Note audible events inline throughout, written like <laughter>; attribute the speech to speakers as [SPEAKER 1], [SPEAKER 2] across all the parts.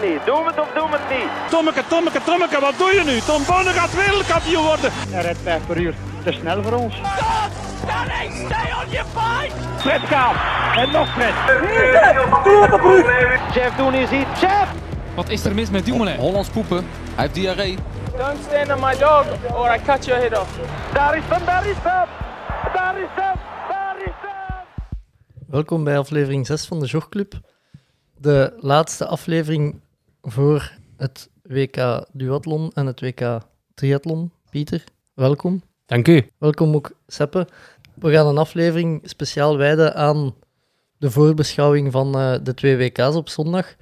[SPEAKER 1] niet? Doe het of doe het niet?
[SPEAKER 2] Tommeke, Tommeke, Tommeke, wat doe je nu? Tom Bonne gaat wereldkampioen worden.
[SPEAKER 3] Hij rijdt 5 per uur. Te snel voor ons.
[SPEAKER 4] Stop! Stanley, stay on your fight!
[SPEAKER 3] Fred gaat. En nog Fred.
[SPEAKER 1] Jeff Doen is hier. Jeff!
[SPEAKER 5] Wat is er mis met Dumoulin?
[SPEAKER 6] Hollands poepen. Hij heeft diarree.
[SPEAKER 4] Don't stand on my dog or I cut your head off.
[SPEAKER 1] Daar is hem, daar is hem! Daar is hem! Daar is hem!
[SPEAKER 7] Welkom bij aflevering 6 van de Jogclub. De laatste aflevering voor het WK Duathlon en het WK Triathlon. Pieter, welkom.
[SPEAKER 5] Dank u.
[SPEAKER 7] Welkom ook Seppe. We gaan een aflevering speciaal wijden aan de voorbeschouwing van eh, de twee WK's op zondag.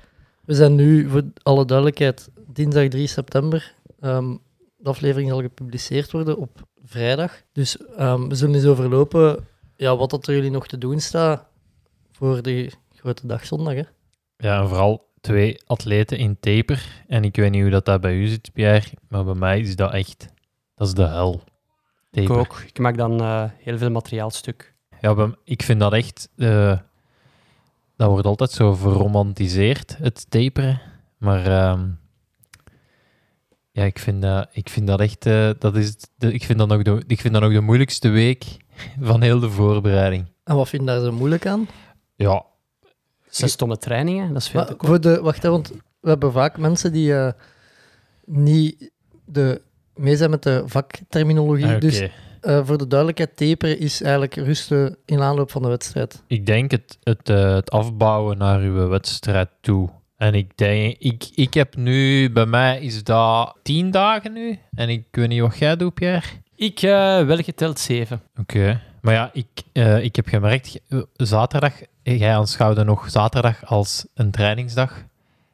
[SPEAKER 7] We zijn nu, voor alle duidelijkheid, dinsdag 3 september. Ehm, de aflevering zal gepubliceerd worden op vrijdag. Dus ehm, we zullen eens overlopen ja, wat dat er jullie nog te doen staat voor de grote dag zondag. Hè?
[SPEAKER 8] Ja, en vooral twee atleten in taper. En ik weet niet hoe dat, dat bij u zit, Pierre, maar bij mij is dat echt... Dat is de hel.
[SPEAKER 9] Ik
[SPEAKER 8] Taper.
[SPEAKER 9] ook. Ik maak dan eh, heel veel materiaal stuk.
[SPEAKER 8] Ja, bij m- ik vind dat echt... eh, dat wordt altijd zo verromantiseerd, het taperen. Maar ehm, ja, ik vind dat, ik vind dat echt... eh, dat is het- de, ik, vind dat nog de, ik vind dat nog de moeilijkste week van heel de voorbereiding.
[SPEAKER 7] En wat vind je daar zo moeilijk aan?
[SPEAKER 8] Ja,
[SPEAKER 9] Zes stomme trainingen, dat is veel
[SPEAKER 7] Maar
[SPEAKER 9] te kort.
[SPEAKER 7] voor de, wacht, hè, want we hebben vaak mensen die eh, niet de, mee zijn met de vakterminologie.
[SPEAKER 8] Ah, oké.
[SPEAKER 7] Dus eh, voor de duidelijkheid, taperen is eigenlijk rusten in aanloop van de wedstrijd.
[SPEAKER 8] Ik denk het, het, eh, het afbouwen naar uw wedstrijd toe. En ik denk, ik, ik heb nu, bij mij is dat tien dagen nu. En ik weet niet wat jij doet, Pierre.
[SPEAKER 9] Ik eh, wel geteld zeven.
[SPEAKER 8] Oké. Maar ja, ik, eh, ik heb gemerkt, eh, zaterdag, eh, jij aanschouwde nog zaterdag als een trainingsdag.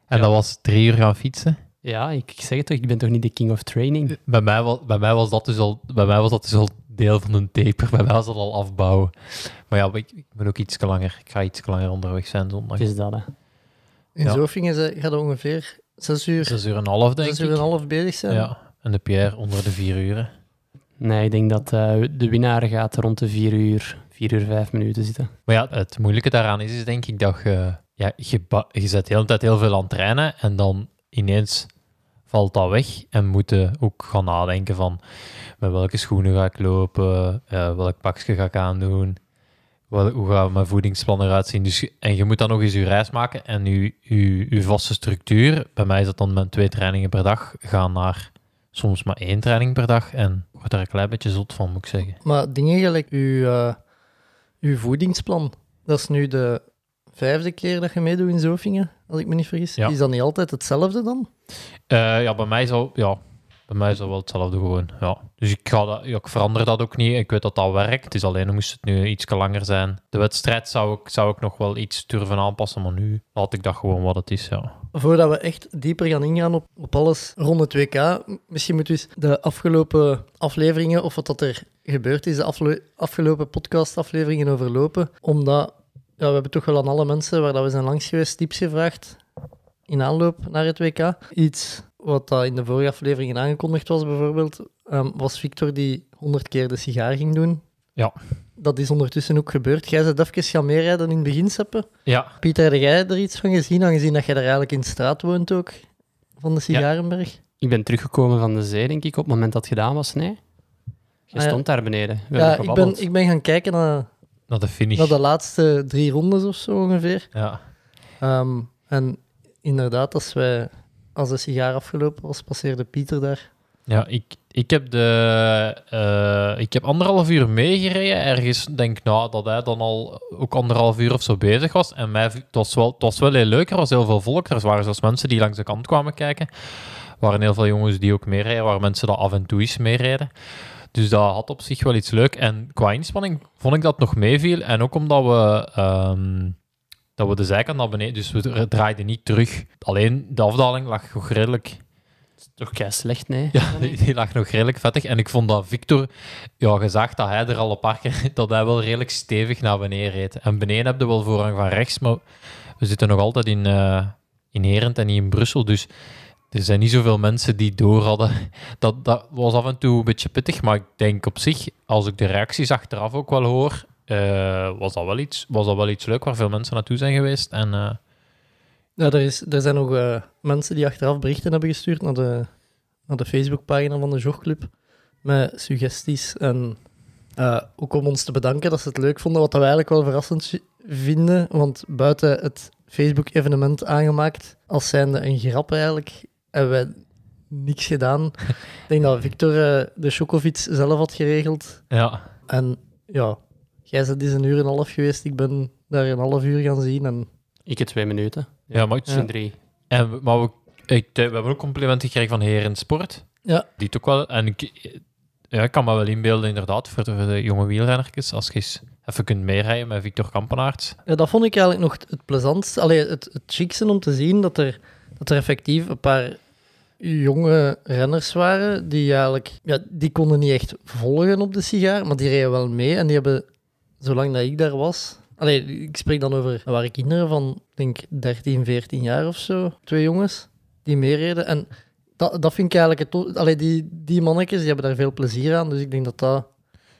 [SPEAKER 8] En
[SPEAKER 9] Ja.
[SPEAKER 8] dat was drie uur gaan fietsen.
[SPEAKER 9] Ja, ik ik zeg het toch, ik ben toch niet de king of training?
[SPEAKER 8] Bij mij, wa- bij mij, was, dat dus al, bij mij was dat dus al deel van een taper. Bij mij was dat al afbouwen. Maar ja, ik, ik ben ook iets langer. Ik ga iets langer onderweg zijn zondag.
[SPEAKER 9] Wat is dat, hè?
[SPEAKER 7] In
[SPEAKER 8] Ja.
[SPEAKER 7] Zofingen ze- gaat het ongeveer zes uur,
[SPEAKER 8] Zes uur en een half, denk
[SPEAKER 7] zes
[SPEAKER 8] ik.
[SPEAKER 7] uur en een half bezig zijn.
[SPEAKER 8] Ja, en de Pierre onder de vier uren.
[SPEAKER 9] Nee, ik denk dat eh, de winnaar gaat rond de vier uur, vier uur vijf minuten zitten.
[SPEAKER 8] Maar ja, het moeilijke daaraan is, is denk ik dat je... Ja, je, ba- je zet de hele tijd heel veel aan het trainen en dan ineens valt dat weg en moet je ook gaan nadenken van met welke schoenen ga ik lopen, eh, welk pakje ga ik aandoen, wel, hoe gaat mijn voedingsplan eruit zien. Dus, je- en je moet dan nog eens je reis maken en je, je, je vaste structuur, bij mij is dat dan met twee trainingen per dag, gaan naar soms maar één training per dag en ik word daar een klein beetje zot van, moet ik zeggen.
[SPEAKER 7] Maar dingen gelijk uw, eh, uw voedingsplan, dat is nu de vijfde keer dat je meedoet in Zofingen, als ik me niet vergis.
[SPEAKER 8] Ja.
[SPEAKER 7] Is dat niet altijd hetzelfde dan?
[SPEAKER 8] Eh, ja, bij mij is al, ja, bij mij is dat wel hetzelfde gewoon. Ja. Dus ik, ga dat, ja, ik verander dat ook niet. Ik weet dat dat werkt. Het is alleen moest het nu iets langer zijn. De wedstrijd zou ik, zou ik nog wel iets durven aanpassen, maar nu laat ik dat gewoon wat het is. Ja.
[SPEAKER 7] Voordat we echt dieper gaan ingaan op, op alles rond het WK, m- misschien moeten we eens de afgelopen afleveringen, of wat dat er gebeurd is, de afle- afgelopen podcastafleveringen overlopen. Omdat ja, we hebben toch wel aan alle mensen waar dat we zijn langs geweest tips gevraagd in aanloop naar het WK. Iets wat dat in de vorige afleveringen aangekondigd was bijvoorbeeld, ehm, was Victor die 100 keer de sigaar ging doen.
[SPEAKER 8] Ja.
[SPEAKER 7] Dat is ondertussen ook gebeurd. Jij bent even gaan meerijden in het begin, Seppe.
[SPEAKER 8] ja,
[SPEAKER 7] Pieter, heb jij er iets van gezien, aangezien dat jij er eigenlijk in de straat woont ook, van de Sigarenberg?
[SPEAKER 9] Ik ben teruggekomen van de zee, denk ik, op het moment dat het gedaan was. Nee? Je
[SPEAKER 7] Ah, ja.
[SPEAKER 9] stond daar beneden. We
[SPEAKER 7] Ja,
[SPEAKER 9] hebben
[SPEAKER 7] ik,
[SPEAKER 9] gebabbeld.
[SPEAKER 7] ben, ik ben gaan kijken naar,
[SPEAKER 8] naar de finish.
[SPEAKER 7] naar de laatste drie rondes of zo ongeveer.
[SPEAKER 8] Ja.
[SPEAKER 7] Ehm, en inderdaad, als, wij, als de sigaar afgelopen was, passeerde Pieter daar.
[SPEAKER 8] Ja, ik, ik, heb de, eh, ik heb anderhalf uur meegereden. Ergens denk ik nou, dat hij dan al ook anderhalf uur of zo bezig was. En mij, v- het, was wel, het was wel heel leuk. Er was heel veel volk. Er waren zelfs mensen die langs de kant kwamen kijken. Er waren heel veel jongens die ook meereden. waren mensen dat af en toe eens meereden. Dus dat had op zich wel iets leuk. En qua inspanning vond ik dat nog meeviel. En ook omdat we... ehm, dat we de zijkant naar beneden, dus we draaiden niet terug. Alleen de afdaling lag nog redelijk
[SPEAKER 9] Toch kei slecht, nee?
[SPEAKER 8] ja, die, die lag nog redelijk vettig. En ik vond dat Victor, ja, je zag dat hij er al een paar keer, <laughs> dat hij wel redelijk stevig naar beneden reed. En beneden heb je wel voorrang van rechts, maar we zitten nog altijd in, eh in Herent en niet in Brussel. Dus er zijn niet zoveel mensen die door hadden. <laughs> Dat, dat was af en toe een beetje pittig, maar ik denk op zich, als ik de reacties achteraf ook wel hoor, eh, was, dat wel iets, was dat wel iets leuk waar veel mensen naartoe zijn geweest. En eh,
[SPEAKER 7] Ja, er, is, er zijn nog eh, mensen die achteraf berichten hebben gestuurd naar de, naar de Facebookpagina van de Jogclub met suggesties. En eh, ook om ons te bedanken dat ze het leuk vonden, wat we eigenlijk wel verrassend si- vinden. Want buiten het Facebook-evenement aangemaakt, als zijnde een grap eigenlijk, hebben wij niks gedaan. Ik denk dat Victor eh, de Chocofiets zelf had geregeld.
[SPEAKER 8] Ja.
[SPEAKER 7] En ja, jij bent eens een uur en een half geweest. Ik ben daar een half uur gaan zien. En
[SPEAKER 9] Ik heb twee minuten.
[SPEAKER 8] Ja, maar,
[SPEAKER 9] Misschien drie.
[SPEAKER 8] En, we- maar we, ik, eh, we hebben ook complimenten gekregen van Heren Sport.
[SPEAKER 7] Ja.
[SPEAKER 8] Die het ook wel. En ik, eh, ja, ik kan me wel inbeelden, inderdaad, voor de, voor de jonge wielrennertjes. Als je eens even kunt meerijden met Victor Kampenaerts.
[SPEAKER 7] Ja, dat vond ik eigenlijk nog het plezantste. Allee, het, het chicste om te zien dat er, dat er effectief een paar jonge renners waren die eigenlijk... Ja, die konden niet echt volgen op de sigaar, maar die reden wel mee. En die hebben, zolang dat ik daar was... Allee, ik spreek dan over... Dat waren kinderen van, ik denk, 13, 14 jaar of zo. Twee jongens die meereden. En dat, dat vind ik eigenlijk... Het, to- allee, die, die mannetjes die hebben daar veel plezier aan. Dus ik denk dat dat...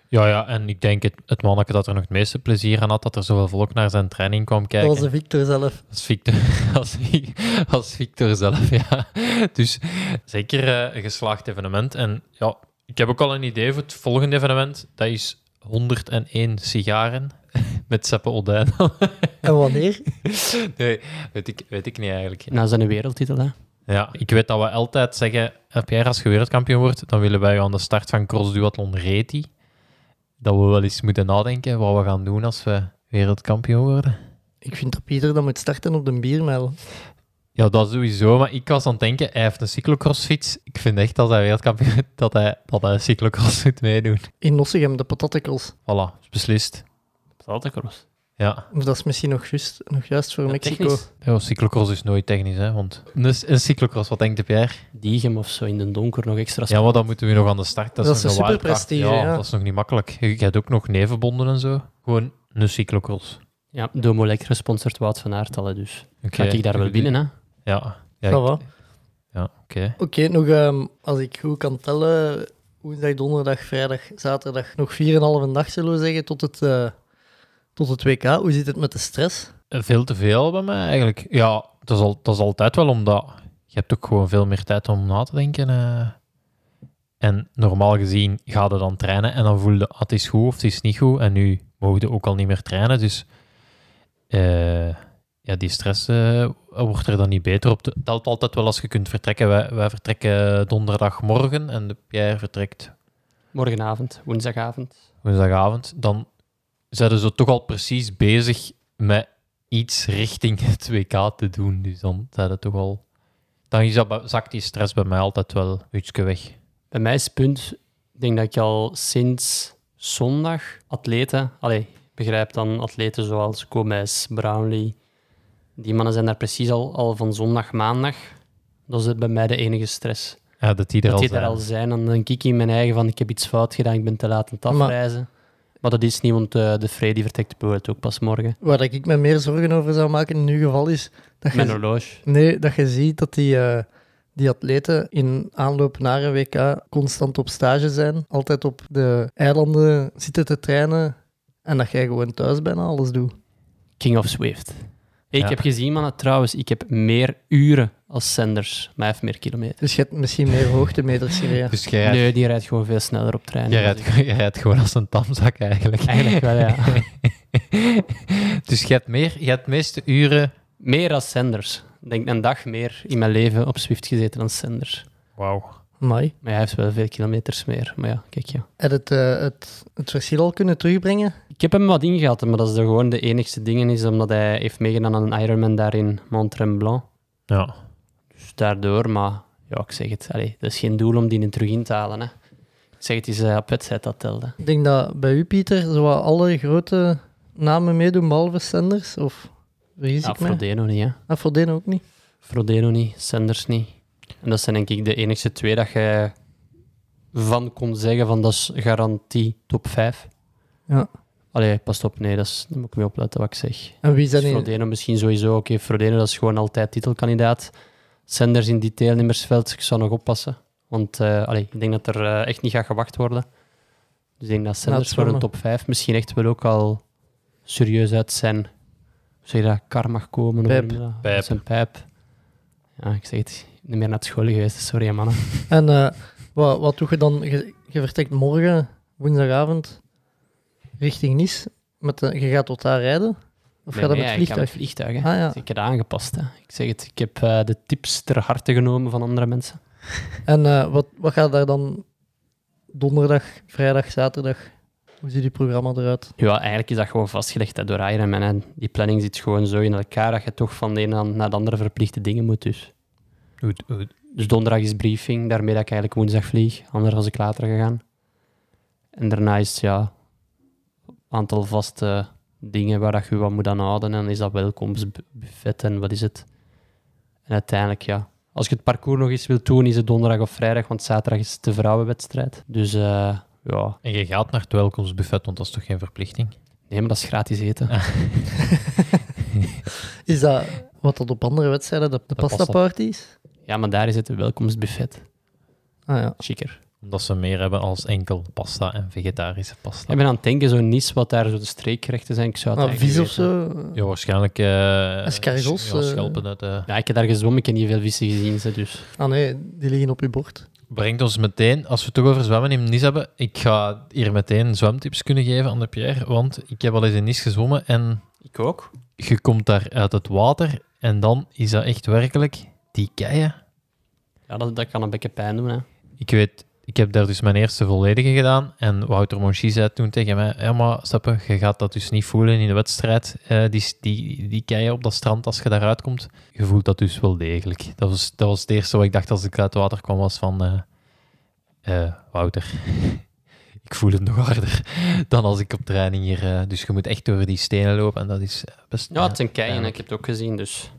[SPEAKER 8] Ja, ja, en ik denk het, het manneke dat er nog het meeste plezier aan had, dat er zoveel volk naar zijn training kwam kijken.
[SPEAKER 7] Dat was de Victor zelf.
[SPEAKER 8] Als Victor, <laughs> als, Vi- als Victor zelf, ja. Dus zeker eh, een geslaagd evenement. En ja, ik heb ook al een idee voor het volgende evenement. Dat is 101 sigaren <laughs> met Seppe Odijn.
[SPEAKER 7] En wanneer?
[SPEAKER 8] nee, weet ik, weet ik niet eigenlijk.
[SPEAKER 9] Nou, zijn een wereldtitel, hè.
[SPEAKER 8] Ja, ik weet dat we altijd zeggen, eh, Pierre, als je wereldkampioen wordt, dan willen wij je aan de start van Cross Duathlon Reti. Dat we wel eens moeten nadenken wat we gaan doen als we wereldkampioen worden.
[SPEAKER 7] Ik vind dat Pieter dan moet starten op de biermijl.
[SPEAKER 8] Ja, dat sowieso. Maar ik was aan het denken, hij heeft een cyclocrossfiets. Ik vind echt dat hij wereldkampioen <laughs> dat hij, dat hij cyclocross moet meedoen.
[SPEAKER 7] In Nottingham, de patatekels.
[SPEAKER 8] Voilà, is beslist.
[SPEAKER 9] Saltacross.
[SPEAKER 8] Ja.
[SPEAKER 7] Of dat is misschien nog juist, nog juist voor Mexico.
[SPEAKER 8] ja, cyclocross is nooit technisch, hè. Want dus een cyclocross, wat denkt de Pierre?
[SPEAKER 9] Diegem of zo in den donker nog extra
[SPEAKER 8] Ja, maar dan moeten we nog aan de start. Dat,
[SPEAKER 7] Dat is
[SPEAKER 8] nog
[SPEAKER 7] een
[SPEAKER 8] een wildcard.
[SPEAKER 7] superprestige, ja.
[SPEAKER 8] dat is nog niet makkelijk. Je hebt ook nog nevenbonden en zo. Gewoon een cyclocross.
[SPEAKER 9] Ja, Domo Lek gesponsord Wout van Aertalen, dus.
[SPEAKER 8] Oké.
[SPEAKER 9] Ga ik daar wel binnen, hè?
[SPEAKER 8] Ja. Ja,
[SPEAKER 7] Ja,
[SPEAKER 8] ik-
[SPEAKER 7] wat?
[SPEAKER 8] ja oké.
[SPEAKER 7] Oké, nog ehm, als ik goed kan tellen, woensdag, donderdag, vrijdag, zaterdag, nog 4,5 dag zullen we zeggen tot het, eh, tot het WK. Hoe zit het met de stress?
[SPEAKER 8] Eh, Veel te veel bij mij eigenlijk. Ja, dat is, al, dat is altijd wel omdat je hebt ook gewoon veel meer tijd om na te denken. eh. En normaal gezien ga je dan trainen en dan voel je ah, het is goed of het is niet goed. En nu mogen je ook al niet meer trainen. Dus eh, ja, die stress eh, wordt er dan niet beter op. Het helpt altijd wel als je kunt vertrekken. Wij, wij vertrekken donderdagmorgen en de Pierre vertrekt
[SPEAKER 9] Morgenavond, woensdagavond.
[SPEAKER 8] woensdagavond, dan zijn ze toch al precies bezig met iets richting <laughs> het WK te doen. Dus dan zijn dat toch al. Dan is dat, bij- zakt die stress bij mij altijd wel ietsje weg.
[SPEAKER 9] Bij mij is het punt, ik denk dat ik al sinds zondag atleten, allee, begrijp dan atleten zoals Gomez, Brownlee, die mannen zijn daar precies al, al van zondag, maandag. Dat is het bij mij de enige stress.
[SPEAKER 8] Ja, dat die er
[SPEAKER 9] dat
[SPEAKER 8] al
[SPEAKER 9] die daar
[SPEAKER 8] zijn.
[SPEAKER 9] al zijn, dan denk ik in mijn eigen van ik heb iets fout gedaan, ik ben te laat aan het
[SPEAKER 7] Maar-
[SPEAKER 9] afreizen. Maar, dat is niet, want eh, de Freddy vertrekt bijvoorbeeld ook pas morgen.
[SPEAKER 7] Waar dat ik me meer zorgen over zou maken in uw geval is dat
[SPEAKER 9] Mijn
[SPEAKER 7] je,
[SPEAKER 9] horloge.
[SPEAKER 7] nee, dat je ziet dat die, eh, die atleten in aanloop naar een WK constant op stage zijn, altijd op de eilanden zitten te trainen en dat jij gewoon thuis bijna alles doet.
[SPEAKER 9] King of Swift. Ik
[SPEAKER 8] Ja.
[SPEAKER 9] heb gezien, mannen, trouwens, ik heb meer uren als Sanders, maar hij heeft meer kilometer.
[SPEAKER 7] Dus je hebt misschien meer hoogtemeters gereden.
[SPEAKER 8] Dus jij rijdt,
[SPEAKER 9] Nee, die rijdt gewoon veel sneller op trein.
[SPEAKER 8] jij rijdt, <laughs> jij rijdt gewoon als een tamzak eigenlijk.
[SPEAKER 9] Eigenlijk wel, ja.
[SPEAKER 8] <laughs> dus je hebt, meer, je hebt de meeste uren.
[SPEAKER 9] meer als Sanders. Ik denk een dag meer in mijn leven op Swift gezeten dan Sanders.
[SPEAKER 8] Wauw.
[SPEAKER 7] Mai.
[SPEAKER 9] Maar hij heeft wel veel kilometers meer. Maar ja, kijk ja.
[SPEAKER 7] Heb je het, eh, het, het verschil al kunnen terugbrengen?
[SPEAKER 9] Ik heb hem wat ingehaald, maar dat is de- gewoon de enigste dingen is omdat hij heeft meegedaan aan een Ironman daar in Mont Tremblant.
[SPEAKER 8] Ja.
[SPEAKER 9] Dus daardoor, maar ja, ik zeg het. Allee, dat is geen doel om die in terug in te halen. Hè. Ik zeg het, is eh, op wedstrijd dat telde.
[SPEAKER 7] Ik denk dat bij u, Pieter, zo wat alle grote namen meedoen, behalve Sanders. Of vergis
[SPEAKER 9] Ja,
[SPEAKER 7] ik me?
[SPEAKER 9] Frodeno niet, hè.
[SPEAKER 7] Ah, Frodeno ook niet.
[SPEAKER 9] Frodeno niet, Sanders niet. En dat zijn denk ik de enige twee dat je van kon zeggen van dat is garantie top 5.
[SPEAKER 7] Ja.
[SPEAKER 9] Allee, pas op, nee, dat is, daar moet ik mee opletten wat ik zeg.
[SPEAKER 7] En wie zijn
[SPEAKER 9] Dus
[SPEAKER 7] die?
[SPEAKER 9] Frodeno misschien sowieso. Oké, Frodeno dat is gewoon altijd titelkandidaat. Sanders in die deelnemersveld, ik zou nog oppassen. Want eh, allee, ik denk dat er eh, echt niet gaat gewacht worden. Dus ik denk dat Sanders voor een
[SPEAKER 7] zwemmen.
[SPEAKER 9] top 5 misschien echt wel ook al serieus uit zijn zeg je dat, kar mag komen. of
[SPEAKER 7] Pijp.
[SPEAKER 9] hoe noem je dat?
[SPEAKER 8] Pijp.
[SPEAKER 9] Dat is een pijp. Ja, ik zeg het, niet meer naar het school geweest, sorry hè, mannen.
[SPEAKER 7] En eh, wat, wat doe je dan? Je, je vertrekt morgen, woensdagavond, richting Nice. Met de, je gaat tot daar rijden? Of gaat
[SPEAKER 9] Nee,
[SPEAKER 7] dat met
[SPEAKER 9] nee,
[SPEAKER 7] het
[SPEAKER 9] ik ga
[SPEAKER 7] vliegtuig?
[SPEAKER 9] vliegtuig, hè.
[SPEAKER 7] Ah, ja.
[SPEAKER 9] Dus ik heb dat aangepast. Hè. Ik zeg het, ik heb eh, de tips ter harte genomen van andere mensen.
[SPEAKER 7] En eh, wat, wat gaat daar dan donderdag, vrijdag, zaterdag? Hoe ziet je programma eruit?
[SPEAKER 9] Ja, eigenlijk is dat gewoon vastgelegd hè, door Ironman. Hè. Die planning zit gewoon zo in elkaar dat je toch van de ene aan- naar de andere verplichte dingen moet. Dus. dus donderdag is briefing, daarmee dat ik eigenlijk woensdag vlieg. Anders was ik later gegaan. En daarna is ja, een aantal vaste dingen waar dat je wat moet aan houden. En dan is dat welkomstbuffet en wat is het. En uiteindelijk, ja. Als je het parcours nog eens wilt doen, is het donderdag of vrijdag, want zaterdag is de vrouwenwedstrijd. Dus eh, ja,
[SPEAKER 8] En je gaat naar het welkomstbuffet, want dat is toch geen verplichting?
[SPEAKER 9] nee, maar dat is gratis eten.
[SPEAKER 7] Is dat wat dat op andere wedstrijden, de, de
[SPEAKER 8] pasta.
[SPEAKER 7] pasta parties?
[SPEAKER 9] Ja, maar daar is het een welkomstbuffet.
[SPEAKER 7] Ah ja.
[SPEAKER 9] Chiquer.
[SPEAKER 8] Omdat ze meer hebben als enkel pasta en vegetarische pasta.
[SPEAKER 9] Ik ben aan het denken, zo Nice, wat daar zo de streekrechten zijn. Ik zou het
[SPEAKER 7] Ah,
[SPEAKER 9] eigenlijk
[SPEAKER 7] vis of
[SPEAKER 9] weten.
[SPEAKER 7] zo?
[SPEAKER 8] Ja, waarschijnlijk... eh
[SPEAKER 7] Escargots,
[SPEAKER 8] ja,
[SPEAKER 7] eh.
[SPEAKER 8] schelpen uit, eh.
[SPEAKER 9] Ja, ik heb daar gezwommen, ik heb niet veel vissen gezien. ze, Dus.
[SPEAKER 7] Ah nee, die liggen op je bord.
[SPEAKER 8] Brengt ons meteen, als we het toch over zwemmen in Nice hebben, ik ga hier meteen zwemtips kunnen geven aan de Pierre, want ik heb al eens in Nice gezwommen en
[SPEAKER 9] Ik ook.
[SPEAKER 8] je komt daar uit het water en dan is dat echt werkelijk die keien.
[SPEAKER 9] Ja, dat, dat kan een beetje pijn doen. Hè.
[SPEAKER 8] Ik weet, ik heb daar dus mijn eerste volledige gedaan en Wouter Monchi zei toen tegen mij, ja maar Steppe, je gaat dat dus niet voelen in de wedstrijd, eh, die, die, die keien op dat strand als je daaruit komt. Je voelt dat dus wel degelijk. Dat was, dat was het eerste wat ik dacht als ik uit het water kwam, was van, eh, eh, Wouter, <laughs> ik voel het nog harder <laughs> dan als ik op training hier... eh, dus je moet echt door die stenen lopen en dat is eh, best...
[SPEAKER 9] Ja, het zijn keien,
[SPEAKER 8] pijnlijk.
[SPEAKER 9] ik heb het ook gezien. Dus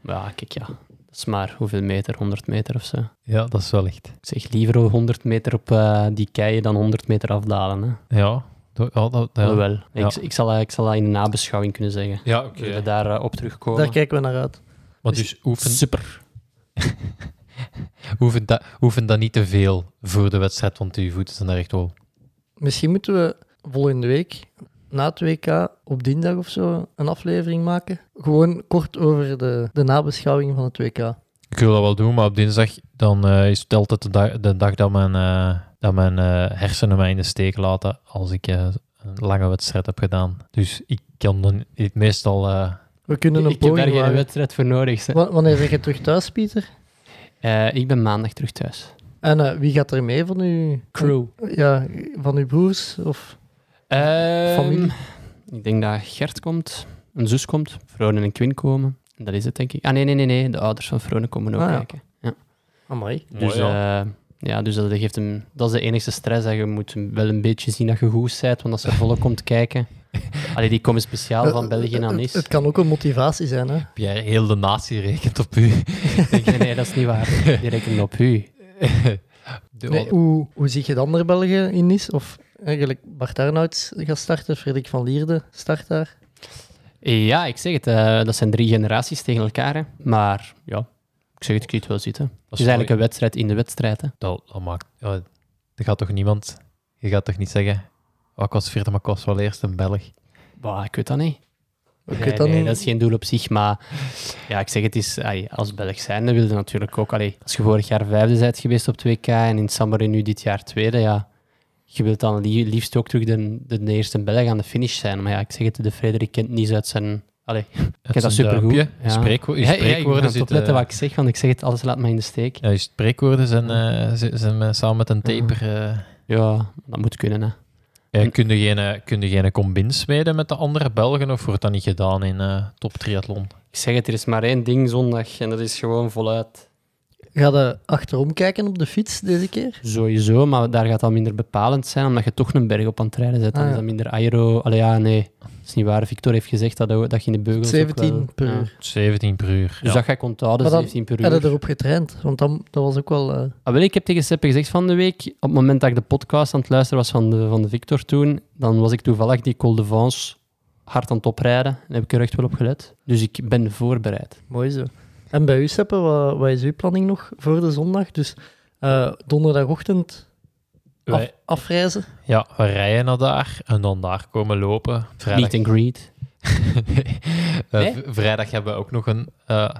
[SPEAKER 9] ja, kijk, ja. Dat is maar hoeveel meter, 100 meter of zo.
[SPEAKER 8] ja, dat is wel echt...
[SPEAKER 9] Ik zeg liever 100 meter op eh, die keien dan 100 meter afdalen. Hè.
[SPEAKER 8] Ja, do- ja, dat, ja.
[SPEAKER 9] Alhoewel,
[SPEAKER 8] Ja.
[SPEAKER 9] Ik, ik, zal, dat- ik zal dat in de nabeschouwing kunnen zeggen.
[SPEAKER 8] Ja, oké.
[SPEAKER 9] Kunnen we daar eh, op terugkomen?
[SPEAKER 7] Daar kijken we naar uit.
[SPEAKER 8] Maar dus oefen,
[SPEAKER 9] Super.
[SPEAKER 8] oefen, dat, oefen dat niet te veel voor de wedstrijd, want uw voeten zijn daar echt wel.
[SPEAKER 7] Misschien moeten we volgende week, na het WK, op dinsdag of zo, een aflevering maken. Gewoon kort over de, de nabeschouwing van het WK.
[SPEAKER 8] Ik wil dat wel doen, maar op dinsdag dan, eh, is het altijd de dag, de dag dat mijn, eh, dat mijn eh, hersenen mij in de steek laten als ik eh, een lange wedstrijd heb gedaan. Dus ik kan dan het meestal... eh,
[SPEAKER 7] We kunnen een
[SPEAKER 9] Ik heb
[SPEAKER 7] poging
[SPEAKER 9] daar geen
[SPEAKER 7] wagen.
[SPEAKER 9] wedstrijd voor nodig. hè.
[SPEAKER 7] Wa- Wanneer zeg je terug thuis, Pieter?
[SPEAKER 9] Eh, ik ben maandag terug thuis.
[SPEAKER 7] En eh, wie gaat er mee van uw...
[SPEAKER 9] crew?
[SPEAKER 7] Ja, van uw broers? Of... Familie?
[SPEAKER 9] Ehm, Ik denk dat Gert komt, een zus komt, Frone en Quinn komen. En dat is het, denk ik. Ah, nee, nee, nee, nee. De ouders van Frone komen ook
[SPEAKER 7] Ah, ja.
[SPEAKER 9] kijken.
[SPEAKER 7] Amai.
[SPEAKER 9] Dus, eh, ja, dus dat, geeft hem, dat is de enige stress. Dat je moet wel een beetje zien dat je goed bent, want als er volk komt
[SPEAKER 7] <laughs>
[SPEAKER 9] kijken... Allee, die komen speciaal van België naar
[SPEAKER 7] het, <laughs> het
[SPEAKER 9] Nice.
[SPEAKER 7] kan ook een motivatie zijn, hè?
[SPEAKER 8] Pierre, heel de natie rekent op u. <laughs>
[SPEAKER 9] Ik denk, nee, dat is niet waar.
[SPEAKER 7] <laughs>
[SPEAKER 9] Die rekenen op u.
[SPEAKER 8] De-
[SPEAKER 7] Nee, hoe, hoe zie je de andere Belgen in Nice? Of eigenlijk Bart Arnouds gaat starten, Frederik van Lierde start daar.
[SPEAKER 9] Ja, ik zeg het. eh, dat zijn drie generaties tegen elkaar. Hè. Maar ja, ik zeg het, ik zie het wel zitten. Het is eigenlijk
[SPEAKER 8] mooi.
[SPEAKER 9] een wedstrijd in de wedstrijd. Hè.
[SPEAKER 8] Dat, dat maakt... Ja, er gaat toch niemand... Je gaat toch niet zeggen... "Oh, ik was vierde, maar ik was wel eerst een Belg.
[SPEAKER 9] Bah, ik weet dat niet.
[SPEAKER 7] Ik
[SPEAKER 9] Nee,
[SPEAKER 7] weet dat
[SPEAKER 9] nee,
[SPEAKER 7] niet.
[SPEAKER 9] dat is geen doel op zich, maar ja, ik zeg het is, ai, als Belg zijnde wilde natuurlijk ook, allee, als je vorig jaar vijfde bent geweest op 2K en in Sambori nu dit jaar tweede, ja, je wilt dan li- liefst ook terug de, de, eerste Belg aan de finish zijn. Maar ja, ik zeg het, de Frederik kent niet uit zijn... Allee,
[SPEAKER 8] Het
[SPEAKER 9] ken
[SPEAKER 8] zijn
[SPEAKER 9] dat supergoed.
[SPEAKER 8] duimpje. Je
[SPEAKER 9] Ja.
[SPEAKER 8] spreekwo- je
[SPEAKER 9] Ja, ja, ik moet
[SPEAKER 8] spreekwoorden
[SPEAKER 9] altijd
[SPEAKER 8] zitten...
[SPEAKER 9] opletten wat ik zeg, want ik zeg het alles, laat mij in de steek.
[SPEAKER 8] ja, je spreekwoorden zijn, eh, z- zijn met- samen met een taper. eh.
[SPEAKER 9] Ja, dat moet kunnen, hè.
[SPEAKER 8] Ja, kun, je geen, eh, kun je geen combin smeden met de andere Belgen of wordt dat niet gedaan in eh top triathlon?
[SPEAKER 9] Ik zeg het, er is maar één ding zondag en dat is gewoon voluit.
[SPEAKER 7] Ga je achterom kijken op de fiets deze keer?
[SPEAKER 9] Sowieso, maar daar gaat dat minder bepalend zijn, omdat je toch een berg op aan het rijden zet. Dan
[SPEAKER 7] Ah,
[SPEAKER 9] is
[SPEAKER 7] ja.
[SPEAKER 9] dat minder aero. Allee, ja, nee, dat is niet waar. Victor heeft gezegd dat, dat je in de beugels ook
[SPEAKER 7] 17
[SPEAKER 9] wel-
[SPEAKER 7] per
[SPEAKER 9] ja.
[SPEAKER 7] uur.
[SPEAKER 8] 17 per uur.
[SPEAKER 9] Dus
[SPEAKER 8] ja.
[SPEAKER 9] dat ga ik onthouden,
[SPEAKER 7] Maar dan
[SPEAKER 9] 17 per uur.
[SPEAKER 7] Hadden erop getraind, want dat, dat was ook wel... eh,
[SPEAKER 9] Ah, wel, ik heb tegen Seppe gezegd van de week, op het moment dat ik de podcast aan het luisteren was van de, van de Victor toen, dan was ik toevallig die Col de Vence hard aan het oprijden. En heb ik er echt wel op gelet. Dus ik ben voorbereid.
[SPEAKER 7] Mooi zo. En bij u, Seppe, wat, wat is uw planning nog voor de zondag? Dus eh, donderdagochtend af-
[SPEAKER 8] Wij-
[SPEAKER 7] afreizen.
[SPEAKER 8] ja, we rijden naar daar en dan daar komen lopen. Vrijdag,
[SPEAKER 9] Meet and greet.
[SPEAKER 8] Eh,
[SPEAKER 9] Nee?
[SPEAKER 8] v- Vrijdag hebben we ook nog een. eh